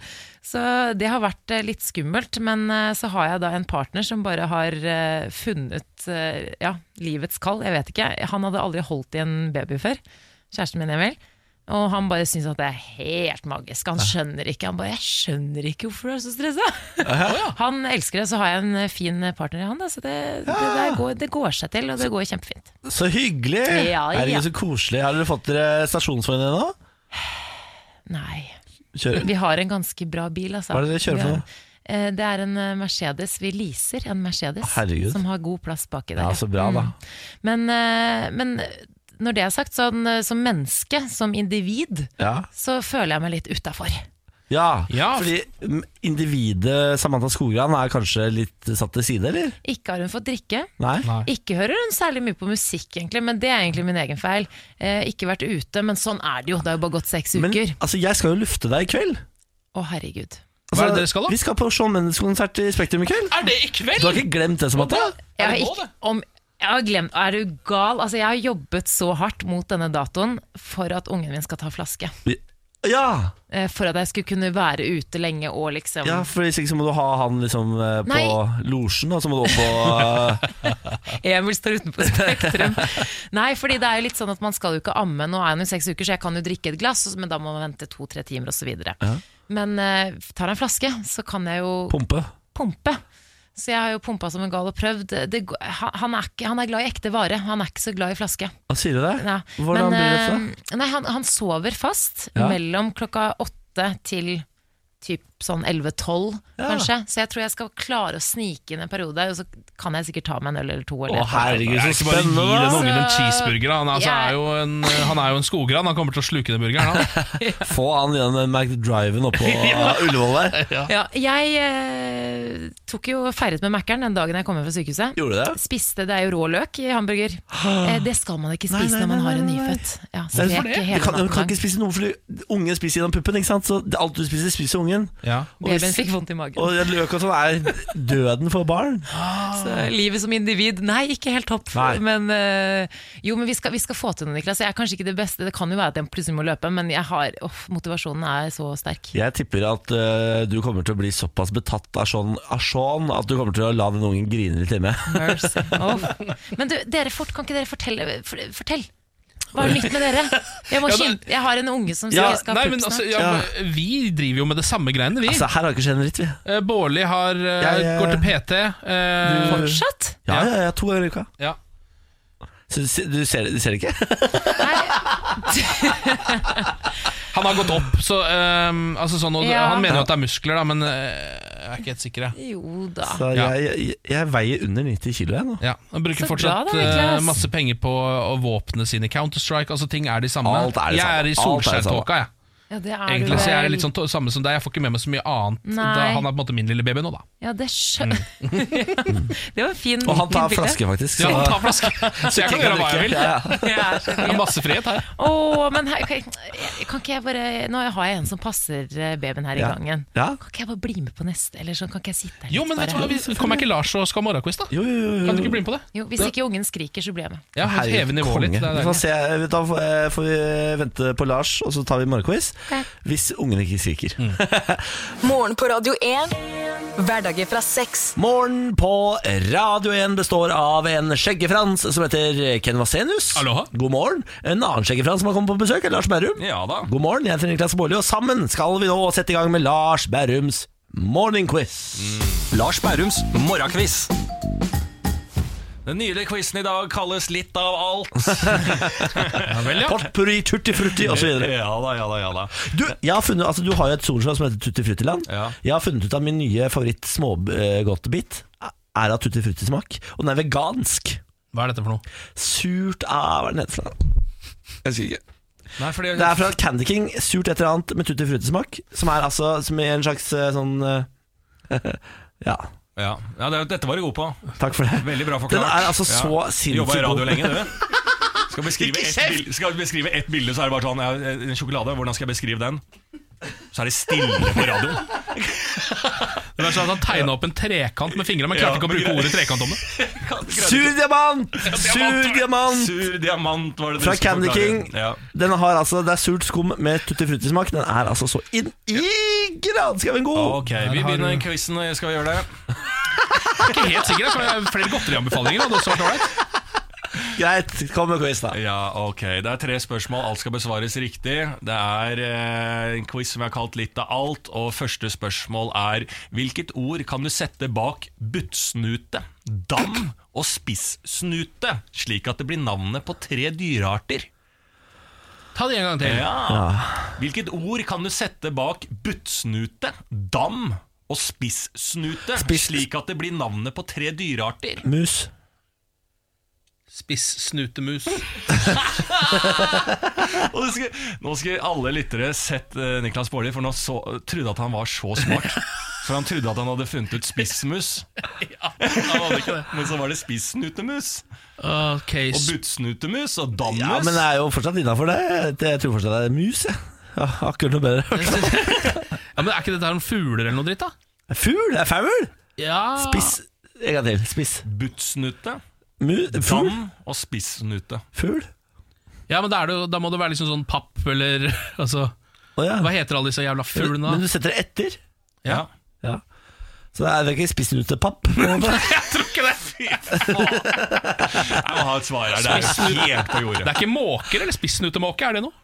Speaker 7: Så det har vært eh, litt skummelt. Men eh, så har jeg da en partner som bare har eh, funnet eh, ja, livets kall. Jeg vet ikke. Han hadde aldri holdt i en baby før. Kjæresten min, Emil. Og han bare syns at det er helt magisk. Han skjønner ikke. Han bare 'jeg skjønner ikke hvorfor du er så stressa'. Han elsker det, så har jeg en eh, fin partner i han, da, så det, det, der går, det går seg til, og det går kjempefint.
Speaker 1: Så hyggelig!
Speaker 7: Ja, ja.
Speaker 1: Herregud, så koselig. Har dere fått dere stasjonsvogn ennå?
Speaker 7: Nei.
Speaker 1: Kjører-
Speaker 7: Vi har en ganske bra bil, altså.
Speaker 1: Hva er det dere kjører for
Speaker 7: Vi
Speaker 1: noe?
Speaker 7: har- Eh, Det er en eh, Mercedes. Vi leaser en Mercedes
Speaker 1: Herregud.
Speaker 7: som har god plass baki der.
Speaker 1: Ja,
Speaker 7: ja.
Speaker 1: så bra, da.
Speaker 7: Mm. Men, eh, men når det er sagt, sånn, eh, som menneske, som individ,
Speaker 1: Ja.
Speaker 7: så føler jeg meg litt utafor.
Speaker 1: ja.
Speaker 2: Ja.
Speaker 1: Fordi mm, individet Samantha Skogran er kanskje litt satt til side, eller?
Speaker 7: Ikke har hun fått drikke.
Speaker 1: Nei?
Speaker 2: Nei.
Speaker 7: Ikke hører hun særlig mye på musikk, egentlig, men det er egentlig min egen feil. Eh, ikke vært ute, men sånn er det jo. Det har jo bare gått seks
Speaker 1: Men
Speaker 7: uker.
Speaker 1: altså, jeg skal jo lufte deg i kveld. Altså,
Speaker 7: Å, herregud.
Speaker 2: Hva er det dere skal, da?
Speaker 1: Vi skal på Shawn Mendes-konsert i Spektrum i kveld.
Speaker 2: Er det i kveld?
Speaker 1: Du har ikke glemt det, Samantha?
Speaker 7: Jeg har
Speaker 2: Er det nå,
Speaker 7: ikke, om, jeg har glemt, er du gal? Altså, jeg har jobbet så hardt mot denne datoen for at ungen min skal ta flaske.
Speaker 1: Vi- Ja,
Speaker 7: eh, for at jeg skulle kunne være ute lenge og liksom
Speaker 1: ja for hvis ikke så må du ha han liksom eh, på
Speaker 7: Nei.
Speaker 1: losjen, og så må du opp på eh,
Speaker 7: Emil står utenfor Spektrum. Nei, fordi det er jo litt sånn at man skal jo ikke amme. Nå er han jo seks uker, så jeg kan jo drikke et glass, men da må man vente to-tre timer osv. videre Men eh, tar jeg en flaske, så kan jeg jo
Speaker 1: pumpe.
Speaker 7: pumpe. Så jeg har jo pumpa som en gal og prøvd. Det, går- han, han er ikke, han er glad i ekte vare, han er ikke så glad i flaske.
Speaker 1: Hva sier du der?
Speaker 7: Ja.
Speaker 1: Hvordan
Speaker 7: men,
Speaker 1: blir det
Speaker 7: eh, Nei, han, han sover fast
Speaker 1: Ja.
Speaker 7: mellom klokka åtte til typ sånn 11-12,
Speaker 1: Ja.
Speaker 7: kanskje. Så jeg tror jeg skal klare å snike inn en periode, og så kan jeg sikkert ta meg en øl eller to.
Speaker 1: Å,
Speaker 7: Eller et eller annet.
Speaker 1: herregud,
Speaker 2: Jeg
Speaker 1: så
Speaker 2: er ikke bare gi
Speaker 1: spennende!
Speaker 2: den
Speaker 1: da.
Speaker 2: ungen en
Speaker 7: Så-
Speaker 2: cheeseburger. da. Han, altså,
Speaker 7: Jeg-
Speaker 2: er jo en, han er jo en skogran. Han kommer til å sluke den burgeren. Han.
Speaker 1: Få han gjennom den McDriven oppå eh, Ullevål der.
Speaker 7: Ja, jeg eh, tok jo feiret med Mækkern den dagen jeg kom hjem fra sykehuset.
Speaker 1: Gjorde du det?
Speaker 7: Spiste det er jo rå løk i hamburger. Eh, det skal man ikke
Speaker 1: Nei,
Speaker 7: spise
Speaker 1: nei,
Speaker 7: når man
Speaker 1: nei,
Speaker 7: har en
Speaker 1: nei, nei.
Speaker 7: nyfødt. Ja,
Speaker 1: Det er
Speaker 7: stek
Speaker 1: for det.
Speaker 7: hele
Speaker 1: Du kan, du
Speaker 7: natten
Speaker 1: kan
Speaker 7: lang.
Speaker 1: ikke spise noe fordi ungen spiser gjennom puppen. ikke sant? Så det- alt du spiser, spiser ungen.
Speaker 2: Ja.
Speaker 1: Og hvis-
Speaker 7: Babyen fikk vondt i magen.
Speaker 1: Og løk og sånn er døden for barn.
Speaker 7: Så eh, livet som individ, nei, ikke helt topp.
Speaker 1: Nei.
Speaker 7: Men eh, jo, men vi skal, vi skal få til noe, Niklas. Jeg er kanskje ikke det beste, det kan jo være at jeg plutselig må løpe, men jeg har, åh, motivasjonen er så sterk.
Speaker 1: Jeg tipper at eh, du kommer til å bli såpass betatt av sånn, av sånn at du kommer til å la den ungen grine litt hjemme.
Speaker 7: Mercy. Åh. Men du, dere fort, kan ikke dere fortelle for, Fortell! Hva er nytt med dere? Jeg, må
Speaker 2: Ja, da-
Speaker 7: skynde, jeg har en unge som sier
Speaker 1: Ja,
Speaker 7: jeg skal ha
Speaker 2: Nei,
Speaker 7: pupp
Speaker 2: men
Speaker 7: snart.
Speaker 2: altså, ja, men vi driver jo med det samme greiene, vi.
Speaker 1: Altså, her har ikke skjedd en dritt, vi.
Speaker 2: Eh, Bårli har, eh,
Speaker 1: Jeg, eh,
Speaker 2: går til PT. eh,
Speaker 1: Du-
Speaker 7: Fortsatt?
Speaker 1: Ja, ja, ja, to ganger i uka.
Speaker 2: ja.
Speaker 1: Så du, ser- du, ser, du ser det ikke?
Speaker 2: Han har gått opp, så eh, altså, sånn, og,
Speaker 7: Ja.
Speaker 2: Han mener jo at det er muskler, da, men eh, jeg er ikke helt sikker. Jeg.
Speaker 7: Jo da.
Speaker 1: Så
Speaker 2: Ja.
Speaker 1: jeg, jeg, jeg veier under 90 kilo jeg nå.
Speaker 2: Ja, Han bruker
Speaker 7: Så bra
Speaker 2: fortsatt
Speaker 7: da, Niklas.
Speaker 2: eh, masse penger på å våpne sine Counter-Strike. Altså Ting er de samme.
Speaker 1: Alt er det
Speaker 2: jeg
Speaker 1: samme. Alt er
Speaker 2: er i
Speaker 1: det samme.
Speaker 2: Solskjær-tåka, jeg.
Speaker 7: Ja, det er du
Speaker 2: Egentlig så jeg er
Speaker 7: vel.
Speaker 2: litt sånn to- samme som deg. Jeg får ikke med meg så mye annet.
Speaker 7: Nei.
Speaker 2: Da, han er på en måte min lille baby nå, da.
Speaker 7: Ja, det skjønner
Speaker 2: Mm.
Speaker 7: Det var en fin
Speaker 1: Og han tar
Speaker 7: fin bilde.
Speaker 1: flaske, faktisk. så-
Speaker 2: Ja, han tar flaske, så jeg kan gjøre hva jeg vil.
Speaker 1: Ja, ja.
Speaker 7: Ja, så
Speaker 2: Det er
Speaker 7: fin.
Speaker 2: masse frihet her.
Speaker 7: Åh, men her, kan, jeg- kan ikke jeg bare Nå har jeg en som passer eh, babyen her i
Speaker 1: Ja.
Speaker 7: gangen.
Speaker 1: Ja.
Speaker 7: Kan ikke jeg bare bli med på neste? Eller sånn, kan ikke jeg sitte her
Speaker 2: Jo,
Speaker 7: litt
Speaker 2: men vet du hva,
Speaker 7: bare?
Speaker 2: vi- Kommer ikke Lars og skal ha morgenquiz, da?
Speaker 1: Jo, jo, jo, jo.
Speaker 2: Kan du ikke bli med på det?
Speaker 7: Jo, hvis ikke ungen skriker, så blir jeg med.
Speaker 2: Ja,
Speaker 1: Herregud,
Speaker 2: Heve nivået litt.
Speaker 1: konge.
Speaker 2: Det er
Speaker 1: Vi får
Speaker 2: deilig.
Speaker 1: se, da får eh, får vi vente på Lars, og så tar vi morgenquiz. Hvis ungen ikke skriker.
Speaker 2: Mm.
Speaker 3: Morgen på Radio 1. Hverdager fra seks.
Speaker 1: Morgen på Radio 1 består av en skjeggefrans som heter Ken Vasenius.
Speaker 2: Aloha.
Speaker 1: God morgen. En annen skjeggefrans som har kommet på besøk, er Lars Berrum.
Speaker 2: Ja da.
Speaker 1: God morgen, jeg heter Niklas Baarli, og sammen skal vi nå sette i gang med Lars Berrums morgenquiz.
Speaker 2: Mm.
Speaker 6: Lars Bærums morgenquiz. Den nylige quizen i dag kalles Litt av alt.
Speaker 2: Ja, vel, ja.
Speaker 1: Potpurri, tutti frutti osv.
Speaker 6: Ja da, ja da, ja da.
Speaker 1: Du, jeg har funnet, altså, du har jo et solslag som heter Tutti Fruttiland.
Speaker 6: Ja.
Speaker 1: Jeg har funnet ut at min nye favoritt smågodtebit er av Tutti Frutti-smak, og den er vegansk.
Speaker 2: Hva er dette for noe?
Speaker 1: Surt av Hva er den heter for noe?
Speaker 2: Nei, fordi,
Speaker 1: Det er fra Candy King, surt et eller annet med tutti frutti-smak. Som er altså som er en slags eh, sånn eh, Ja,
Speaker 6: Ja, ja det, dette var du god på.
Speaker 1: takk for det.
Speaker 6: Veldig bra forklart.
Speaker 1: Den er altså så sinnssykt
Speaker 6: Jobba i radio
Speaker 1: god.
Speaker 6: lenge, du. Skal beskrive,
Speaker 1: Ikke
Speaker 6: ett
Speaker 1: kjeft!
Speaker 6: bilde, skal beskrive ett bilde, så er det bare sånn ja, En sjokolade, hvordan skal jeg beskrive den? Så er det stille på radioen.
Speaker 2: det var sånn at Han tegna opp en trekant med fingrene, men
Speaker 6: Ja,
Speaker 2: klarte ikke å
Speaker 6: men
Speaker 2: bruke
Speaker 6: greit.
Speaker 2: ordet trekant om det.
Speaker 1: Sur diamant! Sur diamant!
Speaker 6: Sur diamant var det du
Speaker 1: Fra
Speaker 6: skulle
Speaker 1: Candy
Speaker 6: forklare.
Speaker 1: King.
Speaker 6: Ja.
Speaker 1: Den har altså, Det er surt skum med tutti frutti-smak. Den er altså så inn i granskauen god!
Speaker 6: Ok, vi
Speaker 2: Der har
Speaker 6: begynner
Speaker 2: du-
Speaker 6: quizen. Skal vi gjøre det?
Speaker 2: Ikke helt sikker, jeg kan ha Flere godterianbefalinger hadde også vært ålreit.
Speaker 1: Greit, kom med quiz, da.
Speaker 6: Ja, ok. Det er tre spørsmål. Alt skal besvares riktig. Det er eh, en quiz som jeg har kalt Litt av alt. Og første spørsmål er Hvilket ord kan du sette bak buttsnute, dam og spissnute, slik at det blir navnet på tre dyrearter?
Speaker 2: Ta det en gang til.
Speaker 6: Hvilket ord kan du sette bak buttsnute, dam og spissnute,
Speaker 1: Spiss-
Speaker 6: slik at det blir navnet på tre dyrearter?
Speaker 1: Mus.
Speaker 2: Spissnutemus.
Speaker 6: Og det skal, nå skal alle lyttere sett eh, Niklas Baarli, for nå så, trodde at han var så smart. For han trodde at han hadde funnet ut spissmus,
Speaker 2: Han hadde ikke det.
Speaker 6: men så var det spissnutemus
Speaker 2: Ok,
Speaker 6: og
Speaker 2: s-
Speaker 6: buttsnutemus og dammus.
Speaker 1: Ja, men det
Speaker 2: eh,
Speaker 1: er jo fortsatt innafor det. Jeg tror fortsatt det er mus, jeg. Ja, akkurat noe bedre.
Speaker 2: ja, men Er ikke dette her om fugler eller noe dritt, da?
Speaker 1: Fugl? Det er faul!
Speaker 2: Ja
Speaker 1: Spiss. En gang til. Spiss.
Speaker 6: Buttsnute,
Speaker 1: Mu- Fugl?
Speaker 6: dam og spissnute.
Speaker 1: Fugl?
Speaker 2: Ja, men da, er det, jo- da må det være liksom sånn papp eller altså
Speaker 1: Å, ja.
Speaker 2: Hva heter alle disse jævla fuglene
Speaker 1: Men
Speaker 2: da?
Speaker 1: du setter det etter?
Speaker 2: Ja.
Speaker 1: Ja. Så det er ikke spissnutepapp? på en måte.
Speaker 2: Jeg tror ikke det! Fy faen.
Speaker 6: Jeg må ha et svar her. Det er helt på
Speaker 2: Det
Speaker 6: jordet.
Speaker 2: er ikke måker eller spissnutemåke, er det noe?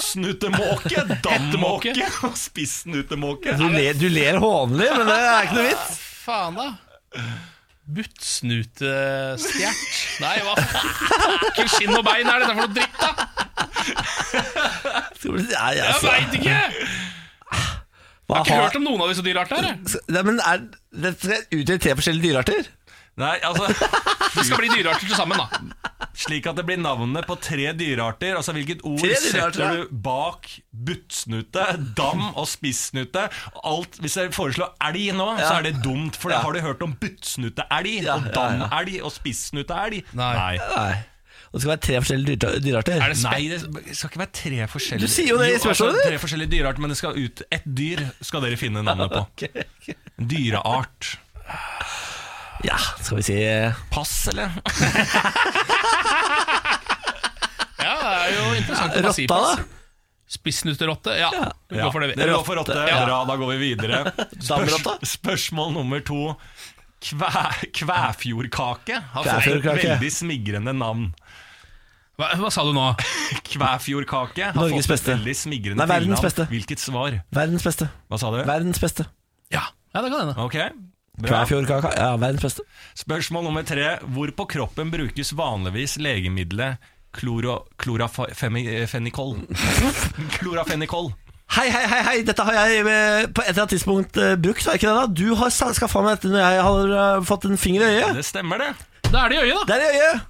Speaker 6: Snutemåke, dammåke og spissnutemåke.
Speaker 1: Du ler, du ler hånlig, men det er ikke noe vits.
Speaker 2: Faen, da. Buttsnutestjert. Nei, hva faen? Skinn og bein er dette for noe dritt, da?
Speaker 1: Tror du- Nei, Altså, jeg
Speaker 2: Jeg
Speaker 1: ser-
Speaker 2: veit ikke! Jeg
Speaker 1: Hva
Speaker 2: har ikke
Speaker 1: har-
Speaker 2: hørt om noen av disse dyreartene. her.
Speaker 1: Nei, men er det skal utgjøre tre forskjellige dyrearter?
Speaker 6: Nei, altså
Speaker 2: Det skal bli dyrearter til sammen, da.
Speaker 6: Slik at det blir navnet på tre dyrearter. Altså Hvilket ord
Speaker 1: Tre dyrearter,
Speaker 6: setter du bak buttsnute, dam og spissnute? Alt, hvis jeg foreslår elg nå, så er det dumt, for da har du hørt om buttsnuteelg
Speaker 1: Ja, ja,
Speaker 6: og
Speaker 1: ja.
Speaker 6: damelg og spissnuteelg.
Speaker 2: Nei.
Speaker 1: Nei. Og det skal være tre forskjellige dyre- dyrearter?
Speaker 2: Er det
Speaker 6: Nei,
Speaker 2: spett?
Speaker 6: det skal ikke være tre forskjellige
Speaker 1: Du sier jo det i spørsmålet
Speaker 6: altså,
Speaker 1: ditt.
Speaker 6: Tre forskjellige dyrearter, men det skal ut ett dyr skal dere finne navnet på. Dyreart.
Speaker 1: Ja, skal vi si eh,
Speaker 6: Pass, eller?
Speaker 2: Ja, det er jo interessant. å bare si altså.
Speaker 1: rotta, da?
Speaker 2: pass. Spissnuterotte? Ja, vi går for det. vi.
Speaker 6: Dere går for rotte.
Speaker 1: Ja.
Speaker 6: Bra, da går vi videre.
Speaker 1: Damerotta?
Speaker 6: spørsmål nummer to. Kvæ, kvæfjordkake har fått et
Speaker 1: Kvæfjordkake.
Speaker 6: veldig smigrende navn.
Speaker 2: Hva, hva sa du nå?
Speaker 6: Kvæfjordkake har
Speaker 1: Norges
Speaker 6: fått et
Speaker 1: beste.
Speaker 6: veldig smigrende
Speaker 1: Nei, verdens
Speaker 6: tilnavn.
Speaker 1: beste.
Speaker 6: Hvilket svar?
Speaker 1: Verdens beste.
Speaker 6: Hva sa du?
Speaker 1: Verdens beste.
Speaker 2: Ja, ja det kan hende.
Speaker 6: Ok, bra.
Speaker 1: Kvæfjordkaka. Ja, verdens beste.
Speaker 6: Spørsmål nummer tre. Hvor på kroppen brukes vanligvis legemiddelet kloro, klorafenikol? klorafenikol.
Speaker 1: Hei, hei, hei, hei, dette har jeg eh, på et eller annet tidspunkt eh, brukt, har jeg ikke det da? Du har sa- skaffa meg dette når jeg har eh, fått en finger i øyet.
Speaker 6: Det stemmer, det.
Speaker 2: Da er det i øyet, da.
Speaker 1: Der i øyet!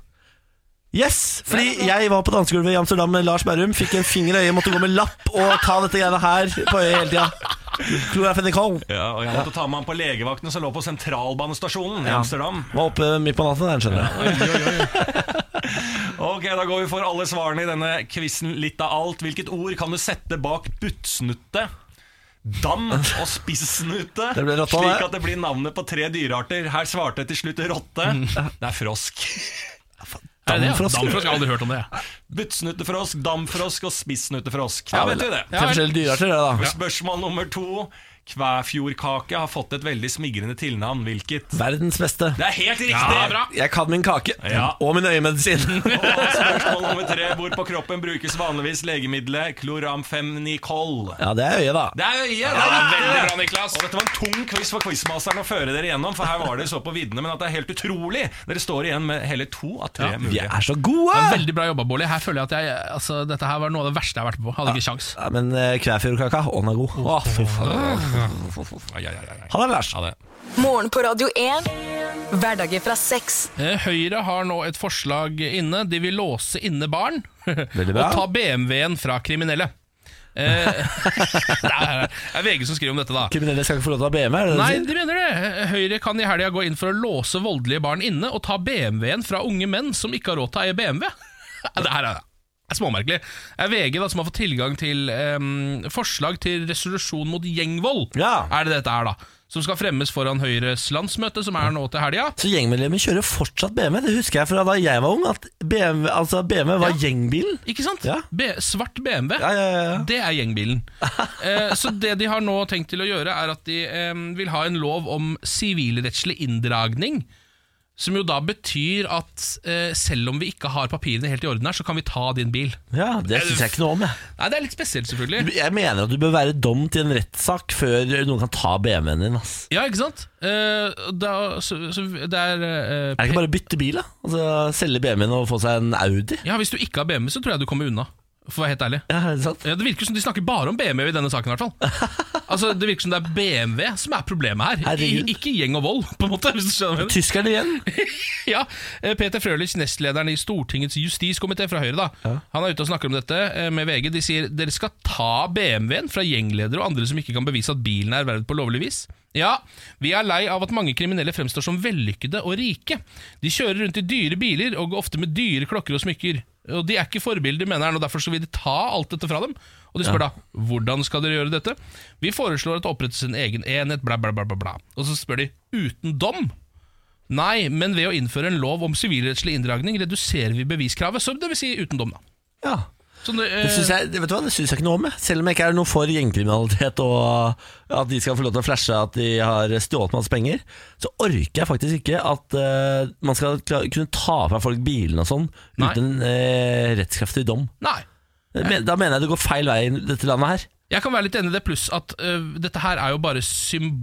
Speaker 1: Yes! Fordi jeg var på dansegulvet i Amsterdam med Lars Berrum, fikk en finger i øyet, måtte gå med lapp og ta dette greiene her på øyet hele tida. Klorafenikal.
Speaker 6: Ja, og jeg måtte ta med han på legevakten som lå på sentralbanestasjonen i Amsterdam.
Speaker 1: Var oppe midt på natten der, skjønner jeg.
Speaker 6: Ok, da går vi for alle svarene i denne quizen litt av alt. Hvilket ord kan du sette bak buttsnutte? Dam og spissnute,
Speaker 1: Det ble rotta,
Speaker 6: slik
Speaker 1: det.
Speaker 6: at det blir navnet på tre dyrearter. Her svarte til slutt rotte.
Speaker 1: Mm.
Speaker 6: Det er frosk.
Speaker 2: Er det det, ja?
Speaker 1: Damfrosk.
Speaker 2: Damfrosk, jeg har aldri hørt om det. jeg.
Speaker 6: Buttsnuttefrosk, damfrosk og spissnuttefrosk. Da vet du det.
Speaker 1: Tre forskjellige dyrearter, det da.
Speaker 6: Spørsmål nummer to. Kvæfjordkake har fått et veldig smigrende tilnavn. Hvilket?
Speaker 1: Verdens beste.
Speaker 6: Det er helt riktig!
Speaker 2: Ja, bra.
Speaker 1: Jeg kan min kake.
Speaker 6: Ja.
Speaker 1: Og min øyemedisin.
Speaker 6: Og spørsmål nummer tre. Hvor på kroppen brukes vanligvis legemiddelet kloramfenicol?
Speaker 1: Ja, det er øyet, da.
Speaker 6: Det er øyet! det
Speaker 2: Ja,
Speaker 6: er riktig,
Speaker 2: veldig
Speaker 6: det.
Speaker 2: bra, Niklas.
Speaker 6: Og dette var en tung quiz for quizmasteren å føre dere gjennom, for her var dere så på viddene, men at det er helt utrolig. Dere står igjen med hele to av tre
Speaker 1: Vi
Speaker 6: mulige.
Speaker 1: er så gode!
Speaker 2: Men Veldig bra jobba, Bårli. Her føler jeg at jeg, altså, dette her var noe av det verste jeg har vært med på. Hadde ikke kjangs.
Speaker 1: Ja, men eh, Kvæfjordkaka, å, den er god. Å, fy faen.
Speaker 6: Ai, ai, ai, ai.
Speaker 1: Ha det, Lars.
Speaker 6: Ha det.
Speaker 3: Morgen på Radio 1. Hverdager fra seks.
Speaker 2: Eh, Høyre har nå et forslag inne. De vil låse inne barn
Speaker 1: Veldig
Speaker 2: og
Speaker 1: bra.
Speaker 2: ta BMW-en fra kriminelle. Eh, det er det er VG som skriver om dette, da.
Speaker 1: Kriminelle skal ikke få lov til å ha BM, er det det du
Speaker 2: Nei,
Speaker 1: sier?
Speaker 2: de mener det. Høyre kan i helga gå inn for å låse voldelige barn inne og ta BMW-en fra unge menn som ikke har råd til å eie BMW. Det her er er småmerkelig. Det er VG da, som har fått tilgang til em, forslag til resolusjon mot gjengvold.
Speaker 1: Ja.
Speaker 2: Er det dette her, da? Som skal fremmes foran Høyres landsmøte, som er nå til helga.
Speaker 1: Så gjengmedlemmer kjører fortsatt BMW? Det husker jeg fra da jeg var ung, at BMW, altså BMW var gjengbilen.
Speaker 2: Ikke sant?
Speaker 1: Ja.
Speaker 2: B svart BMW.
Speaker 1: Ja, ja, ja, ja.
Speaker 2: Det er gjengbilen. Eh, så det de har nå tenkt til å gjøre, er at de eh, vil ha en lov om sivilrettslig inndragning. Som jo da betyr at eh, selv om vi ikke har papirene helt i orden her, så kan vi ta din bil.
Speaker 1: ja det syns jeg ikke noe om, jeg.
Speaker 2: Nei, Det er litt spesielt, selvfølgelig.
Speaker 1: Jeg mener at du bør være dom til en rettssak før noen kan ta BMW-en din. Ass.
Speaker 2: Ja, ikke sant? Eh, da, så, så det er eh,
Speaker 1: Er det ikke bare å bytte bil, da? Altså, selge BMW-en og få seg en Audi?
Speaker 2: Ja, Hvis du ikke har BMW, så tror jeg du kommer unna. For å være helt ærlig.
Speaker 1: Ja, er det sant?
Speaker 2: Ja, det virker som de snakker bare om BMW i denne saken. i hvert fall Altså, Det virker som det er BMW som er problemet her. I,
Speaker 1: Herregud.
Speaker 2: ikke gjeng og vold, på en måte. hvis du skjønner hva jeg mener.
Speaker 1: Tyskerne igjen?
Speaker 2: Ja, eh, Peter Frølich, nestlederen i Stortingets justiskomité fra Høyre, da. Han er ute og snakker om dette eh, med VG. De sier dere skal ta BMW-en fra gjengledere og andre som ikke kan bevise at bilen er ervervet på lovlig vis. Ja, vi er lei av at mange kriminelle fremstår som vellykkede og rike. De kjører rundt i dyre biler og går ofte med dyre klokker og smykker. Og De er ikke forbilder, mener han, og derfor så vil de ta alt dette fra dem. Og de spør da hvordan skal dere gjøre dette? Vi foreslår at det opprettes en egen enhet, bla, bla, bla. bla, bla. Og så spør de uten dom. Nei, men ved å innføre en lov om sivilrettslig inndragning reduserer vi beviskravet, så det vil si uten dom, da.
Speaker 1: Ja.
Speaker 2: Så nå, eh,
Speaker 1: Det syns jeg, vet du hva, det syns jeg ikke noe om, jeg. selv om jeg ikke er noe for gjengkriminalitet og at de skal få lov til å flashe at de har stjålet masse penger. Så orker jeg faktisk ikke at eh, man skal kla- kunne ta fra folk bilene og sånn
Speaker 2: Nei.
Speaker 1: uten eh, rettskraftig dom.
Speaker 2: Nei.
Speaker 1: Det men- Da mener jeg det går feil vei i dette landet her.
Speaker 2: Jeg kan være litt enig i det, pluss at øh, dette her er jo bare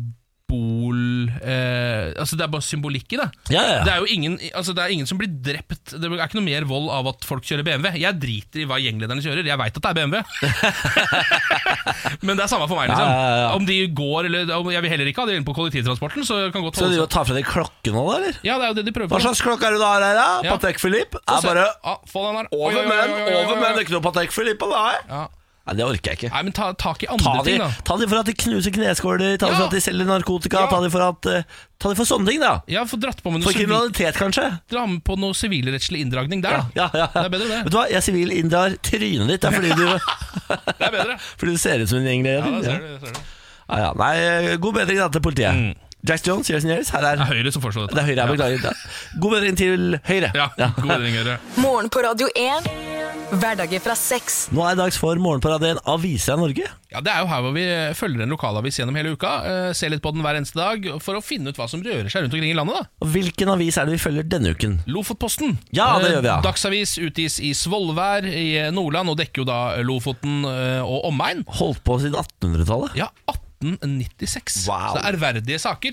Speaker 2: symbol... øh, altså Det er bare symbolikk i det.
Speaker 1: Ja, ja,
Speaker 2: Det
Speaker 1: ja.
Speaker 2: er jo ingen, altså det er ingen som blir drept. Det er ikke noe mer vold av at folk kjører BMW. Jeg driter i hva gjenglederne kjører, jeg veit at det er BMW. Men det er samme for meg. liksom
Speaker 1: Ja, ja, ja.
Speaker 2: Om de går eller om Jeg vil heller ikke ha det inne på kollektivtransporten. Så jeg kan godt
Speaker 1: Skal
Speaker 2: holde
Speaker 1: du ta fra deg klokken nå, da? eller?
Speaker 2: Ja, det er jo det de prøver
Speaker 1: Hva
Speaker 2: på.
Speaker 1: slags klokke er det du har her, da?
Speaker 2: Ja.
Speaker 1: Patek Philippe?
Speaker 2: Så
Speaker 1: Er
Speaker 2: se-
Speaker 1: bare
Speaker 2: ah, Få den her. Oi, oi,
Speaker 1: over
Speaker 2: oi,
Speaker 1: menn,
Speaker 2: oi, oi, oi,
Speaker 1: over
Speaker 2: oi.
Speaker 1: menn. Ikke noe Patek Philippe på deg.
Speaker 2: Ja.
Speaker 1: Nei, det orker jeg ikke.
Speaker 2: Nei, men ta tak i
Speaker 1: Ta
Speaker 2: andre
Speaker 1: de,
Speaker 2: ting, da.
Speaker 1: ta de for at de knuser kneskåler, ta de
Speaker 2: Ja.
Speaker 1: for at de selger narkotika,
Speaker 2: Ja.
Speaker 1: ta, de for at, eh, ta de for sånne ting, da.
Speaker 2: Ja, Få dratt på med noe
Speaker 1: For
Speaker 2: sivil-
Speaker 1: kriminalitet, kanskje?
Speaker 2: dra med på noe sivilrettslig inndragning der, da.
Speaker 1: Ja, ja, ja.
Speaker 2: Det er bedre,
Speaker 1: Vet
Speaker 2: det.
Speaker 1: du hva, jeg sivilinnrar trynet ditt, det er fordi du,
Speaker 2: Det er bedre.
Speaker 1: fordi du ser ut som en
Speaker 2: Ja,
Speaker 1: gjengleder.
Speaker 2: det
Speaker 1: Ja,
Speaker 2: ser du, det ser du. Det
Speaker 1: ja, ja. Nei, eh, god bedring da til politiet.
Speaker 2: Mm.
Speaker 1: Jack Jones, Years and Years, her er
Speaker 2: er Høyre som foreslår dette.
Speaker 1: det er Høyre, jeg beklager. Ja. God bedring til Høyre.
Speaker 2: Ja, ja. God bedring, Høyre.
Speaker 3: Morgen på Radio 1. Hverdager fra seks.
Speaker 1: Nå er det dags for Morgenparadien Avisa Norge.
Speaker 2: Ja, Det er jo her hvor vi følger en lokalavis gjennom hele uka. eh, ser litt på den hver eneste dag for å finne ut hva som rører seg rundt omkring i landet. da
Speaker 1: Og Hvilken avis er det vi følger denne uken?
Speaker 2: Lofotposten.
Speaker 1: Ja, det
Speaker 2: Eh,
Speaker 1: gjør vi, ja.
Speaker 2: Dagsavis utgis i Svolvær i eh, Nordland og dekker jo da Lofoten eh, og omegn.
Speaker 1: Holdt på siden 1800-tallet.
Speaker 2: Ja, 1896.
Speaker 1: Wow.
Speaker 2: Så det er ærverdige saker.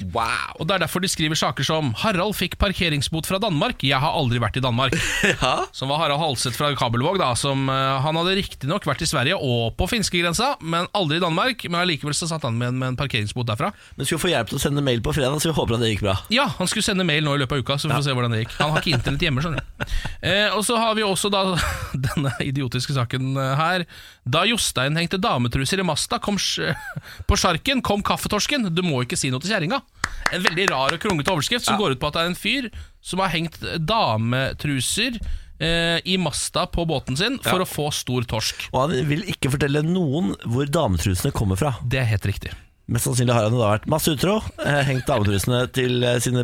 Speaker 2: Og Det er derfor de skriver saker som 'Harald fikk parkeringsbot fra Danmark'. 'Jeg har aldri vært i Danmark'. Som var Harald Halseth fra Kabelvåg. da som, eh, Han hadde riktignok vært i Sverige og på finskegrensa, men aldri i Danmark. Men allikevel så satt han med en, med en parkeringsbot derfra.
Speaker 1: Men skulle få hjelp til å sende mail på fredag, så vi håper at det gikk bra.
Speaker 2: Ja, han skulle sende mail nå i løpet av uka, så vi får se hvordan det gikk. Han har ikke internett hjemme, skjønner du. Eh, og så har vi også da denne idiotiske saken eh, her. Da Jostein hengte dametruser i masta kom sj- på sjarken, kom kaffetorsken. Du må ikke si noe til kjerringa. En veldig rar og kronglete overskrift som går ut på at det er en fyr som har hengt dametruser eh, i masta på båten sin for å få stor torsk.
Speaker 1: Og han vil ikke fortelle noen hvor dametrusene kommer fra.
Speaker 2: Det er helt riktig.
Speaker 1: Mest sannsynlig har han jo da vært masse utro, eh, hengt dametrusene til eh, sine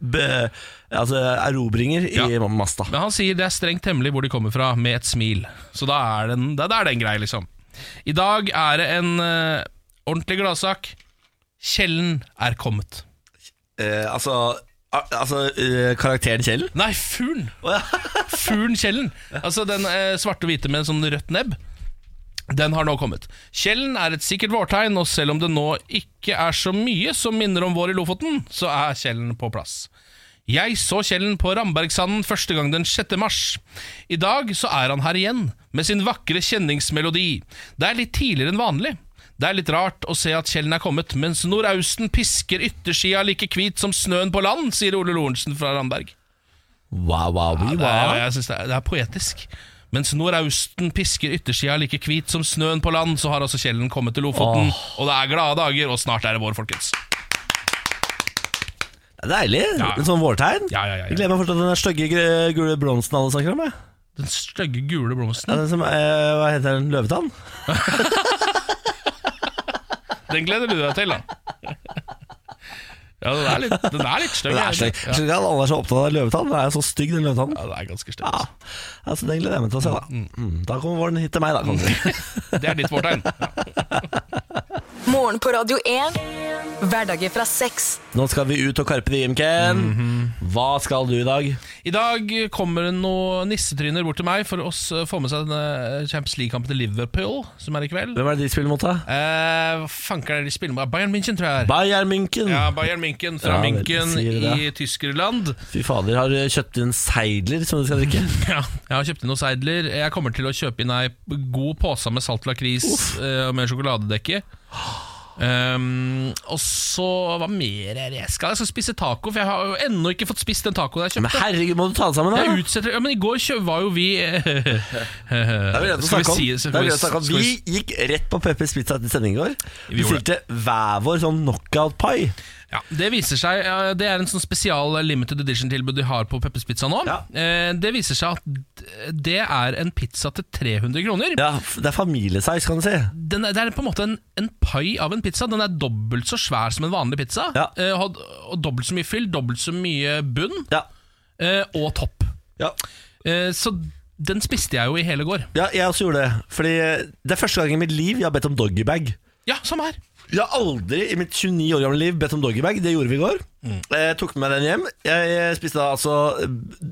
Speaker 1: b altså erobringer i
Speaker 2: Ja.
Speaker 1: masta.
Speaker 2: Men han sier det er strengt hemmelig hvor de kommer fra, med et smil. Så da er den, da, da er den grei, liksom. I dag er det en eh, ordentlig gladsak. Kjellen er kommet.
Speaker 1: Eh, altså a- altså eh, karakteren Kjell?
Speaker 2: Nei, fuglen! Fuglen Kjellen. Altså den eh, svarte og hvite med sånn rødt nebb. Den har nå kommet. Kjellen er et sikkert vårtegn, og selv om det nå ikke er så mye som minner om vår i Lofoten, så er Kjellen på plass. Jeg så Kjellen på Rambergsanden første gang den 6. mars. I dag så er han her igjen, med sin vakre kjenningsmelodi. Det er litt tidligere enn vanlig. Det er litt rart å se at Kjellen er kommet, mens nordausten pisker yttersida like hvit som snøen på land, sier Ole Lorentzen fra Ramberg.
Speaker 1: Wow, wow, wow.
Speaker 2: Ja, det er, jeg synes det, er, det er poetisk. Mens nordausten pisker yttersida like hvit som snøen på land, så har altså Kjellen kommet til Lofoten. Og det er glade dager, og snart er det vår, folkens.
Speaker 1: Det er Deilig.
Speaker 2: Ja.
Speaker 1: En sånn vårtegn.
Speaker 2: Ja, ja, ja, ja.
Speaker 1: Jeg gleder meg fortsatt til den der stygge gr- gule blomsten alle snakker om. Jeg.
Speaker 2: Den stygge gule
Speaker 1: Ja,
Speaker 2: blomsten.
Speaker 1: den som, eh, hva heter den? Løvetann?
Speaker 2: Den gleder du deg til, da. Ja, den er litt, den er litt stygg.
Speaker 1: Den
Speaker 2: er
Speaker 1: er
Speaker 2: den?
Speaker 1: stygg. Jeg
Speaker 2: Ja,
Speaker 1: skjønner ikke at alle er så opptatt av løvetann. Den er jo så stygg, den løvetann.
Speaker 2: ja, det er ganske stygg.
Speaker 1: Ja.
Speaker 2: altså.
Speaker 1: Altså, den gleder jeg meg til å se, da. Mm. Da kommer våren hit til meg, da. kanskje.
Speaker 2: Det er ditt fortegn.
Speaker 3: Morgen på Radio 1. Hverdager fra seks.
Speaker 1: Nå skal vi ut og karpe diem, Ken.
Speaker 2: Mhm.
Speaker 1: Hva skal du i dag?
Speaker 2: I dag kommer det noen nissetryner bort til meg for å s- få med seg denne eh, Champions League-kampen til Liverpool, som er i kveld.
Speaker 1: Hvem er det de spiller mot, da?
Speaker 2: Eh, hva fanker er det de spiller med? Bayern München, tror jeg. det er.
Speaker 1: Bayern München.
Speaker 2: Ja, Bayern München fra
Speaker 1: Ja, vel,
Speaker 2: München
Speaker 1: sier du
Speaker 2: i Tyskerland.
Speaker 1: Fy fader, har du kjøpt inn seidler som du skal drikke?
Speaker 2: Ja, jeg har kjøpt inn noen seidler. Jeg kommer til å kjøpe inn ei god pose med salt lakris eh, og med sjokoladedekke. Um, og så Hva mer er det jeg skal? Jeg skal spise taco, for jeg har jo ennå ikke fått spist den tacoen jeg
Speaker 1: Men
Speaker 2: kjøpte.
Speaker 1: herregud, må du ta det sammen, da?
Speaker 2: Jeg utsetter Ja, Men i går kjø var jo vi
Speaker 1: Det er vel det å
Speaker 2: Skal vi
Speaker 1: snakke om.
Speaker 2: si-
Speaker 1: Det er
Speaker 2: skal
Speaker 1: vel
Speaker 2: vi-
Speaker 1: det å snakke om.
Speaker 2: skal
Speaker 1: Vi
Speaker 2: vi-
Speaker 1: gikk rett på Peppers Pizza til sending i går.
Speaker 2: Vi
Speaker 1: Vi
Speaker 2: gjorde
Speaker 1: stilte hver vår sånn knockout pie.
Speaker 2: Ja, Det viser seg, ja, det er en sånn spesial limited edition-tilbud de har på Peppers Pizza nå.
Speaker 1: Ja.
Speaker 2: Eh, Det viser seg at d- det er en pizza til 300 kroner.
Speaker 1: Ja, f- det er familiesize, kan du si.
Speaker 2: den er, det er på en måte en, en pai av en pizza. Den er dobbelt så svær som en vanlig pizza.
Speaker 1: Ja.
Speaker 2: Eh, og, og dobbelt så mye fyll, dobbelt så mye bunn
Speaker 1: Ja.
Speaker 2: eh, og topp.
Speaker 1: ja.
Speaker 2: Eh, så Den spiste jeg jo i hele går.
Speaker 1: Ja, jeg også gjorde det. Fordi eh, det er første gang i mitt liv jeg har bedt om doggybag.
Speaker 2: Ja, samme her.
Speaker 1: Jeg har aldri i mitt 29 år gamle liv bedt om doggybag. Det gjorde vi i går. Jeg tok med meg den hjem. Jeg spiste da altså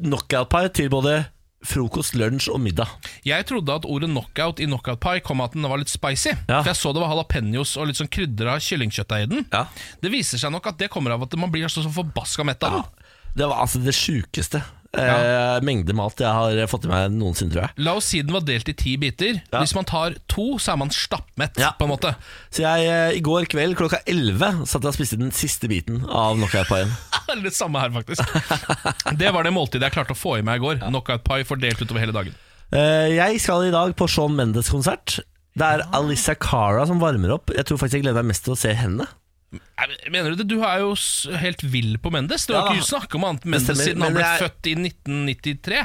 Speaker 1: knockout-pie til både frokost, lunsj og middag.
Speaker 2: Jeg trodde at ordet knockout i knockout pie kom av at den var litt spicy.
Speaker 1: Ja.
Speaker 2: For jeg så det var jalapeños og litt sånn krydder av kyllingkjøtt i den.
Speaker 1: Ja.
Speaker 2: Det viser seg nok at det kommer av at man blir så, så forbaska mett av den.
Speaker 1: Det var altså det sjukeste
Speaker 2: Ja.
Speaker 1: eh, mengde mat jeg har eh, fått i meg noensinne, tror jeg.
Speaker 2: La oss si den var delt i ti biter.
Speaker 1: Ja.
Speaker 2: Hvis man tar to, så er man stappmett.
Speaker 1: Ja.
Speaker 2: på en måte
Speaker 1: Så jeg eh, i går kveld klokka 11 satt jeg og spiste den siste biten av knockout-pien.
Speaker 2: Det er det samme her, faktisk. Det var det måltidet jeg klarte å få i meg i går. Knockout pie fordelt utover hele dagen.
Speaker 1: Eh, jeg skal i dag på Sean Mendes-konsert. Det er Alisa Cara som varmer opp. Jeg tror faktisk jeg gleder meg mest til å se henne.
Speaker 2: Nei, men Mener Du det? Du er jo s- helt vill på Mendes. Du
Speaker 1: Ja,
Speaker 2: har
Speaker 1: da.
Speaker 2: ikke snakket om annet enn Mendes
Speaker 1: stemmer,
Speaker 2: siden han
Speaker 1: men
Speaker 2: ble
Speaker 1: jeg-
Speaker 2: født i 1993.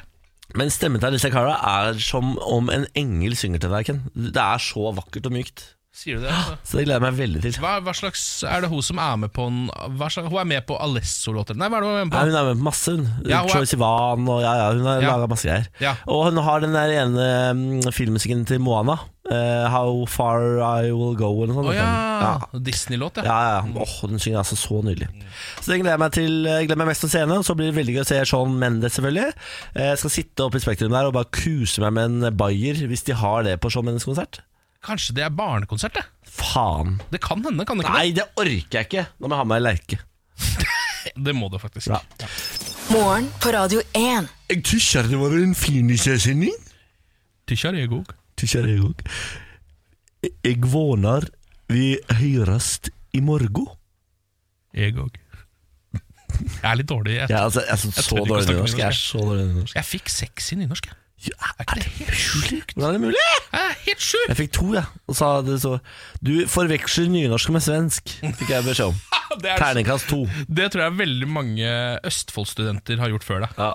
Speaker 1: Men stemmen til Alisa Cara er som om en engel synger til deg, Ken. Det er så vakkert og mykt.
Speaker 2: Sier du det? altså?
Speaker 1: Så det gleder jeg meg veldig til.
Speaker 2: Hva, hva slags Er det hun som er med på en, hva slags, Hun er med på Alesso-låter? Nei, hva er det hun er med
Speaker 1: Nei,
Speaker 2: på?
Speaker 1: hun er med på masse, hun.
Speaker 2: Ja, hun er-
Speaker 1: Troy Sivan og ja, ja, hun har
Speaker 2: Ja.
Speaker 1: laga masse greier.
Speaker 2: Ja.
Speaker 1: Og hun har den der ene mm, filmmusikken til Moana. eh, 'How Far I Will Go' eller noe sånt.
Speaker 2: Å ja.
Speaker 1: ja.
Speaker 2: Disney-låt, ja.
Speaker 1: Ja, ja, ja. Åh, den synger altså så nydelig. Så det gleder jeg meg til jeg gleder meg mest til å se henne. og Så blir det veldig gøy å se Sean Mendes, selvfølgelig. Eh, Jeg skal sitte oppe i Spektrum der og bare kuse meg med en bayer hvis de har det på Sean Mendes konsert.
Speaker 2: Kanskje det er barnekonsert, det?
Speaker 1: Faen.
Speaker 2: Det kan hende, kan det ikke?
Speaker 1: Nei, det orker jeg ikke. Nå må jeg ha med meg lerke.
Speaker 2: det? Det må det faktisk.
Speaker 1: Bra.
Speaker 3: Morgen på Radio 1.
Speaker 1: Jeg tysjer det var en fin sending.
Speaker 2: Tysjar er god.
Speaker 1: Tysjer jeg òg. Jeg våner vi høyrest i morgen.
Speaker 2: Jeg òg. Jeg er litt dårlig. Jeg,
Speaker 1: Jeg er altså, jeg er så,
Speaker 2: Jeg
Speaker 1: så
Speaker 2: tør ikke å
Speaker 1: dårlig
Speaker 2: snakke
Speaker 1: nynorsk. Jeg er så dårlig nynorsk.
Speaker 2: jeg fikk seks i nynorsk, jeg.
Speaker 1: Ja,
Speaker 2: Er ikke det helt sjukt?
Speaker 1: Hvordan er det mulig?
Speaker 2: Jeg er helt sjukt!
Speaker 1: Jeg fikk to, ja. Og sa det så Du forveksler nynorsk med svensk, fikk jeg beskjed om.
Speaker 2: Det, er,
Speaker 1: Terningkast to.
Speaker 2: det tror jeg veldig mange Østfold-studenter har gjort før deg.
Speaker 1: Ja.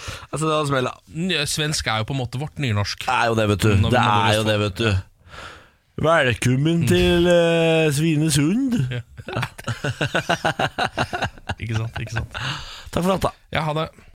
Speaker 1: Altså, det var smell, da.
Speaker 2: Ny- Svensk er jo på en måte vårt nynorsk.
Speaker 1: Det er jo det, vet du.
Speaker 2: Nå
Speaker 1: Det
Speaker 2: må
Speaker 1: er
Speaker 2: du
Speaker 1: jo det, vet du. Velkommen til eh, Svinesund.
Speaker 2: Ikke sant? ikke sant
Speaker 1: Takk for alt, da.
Speaker 2: Ja, ha det.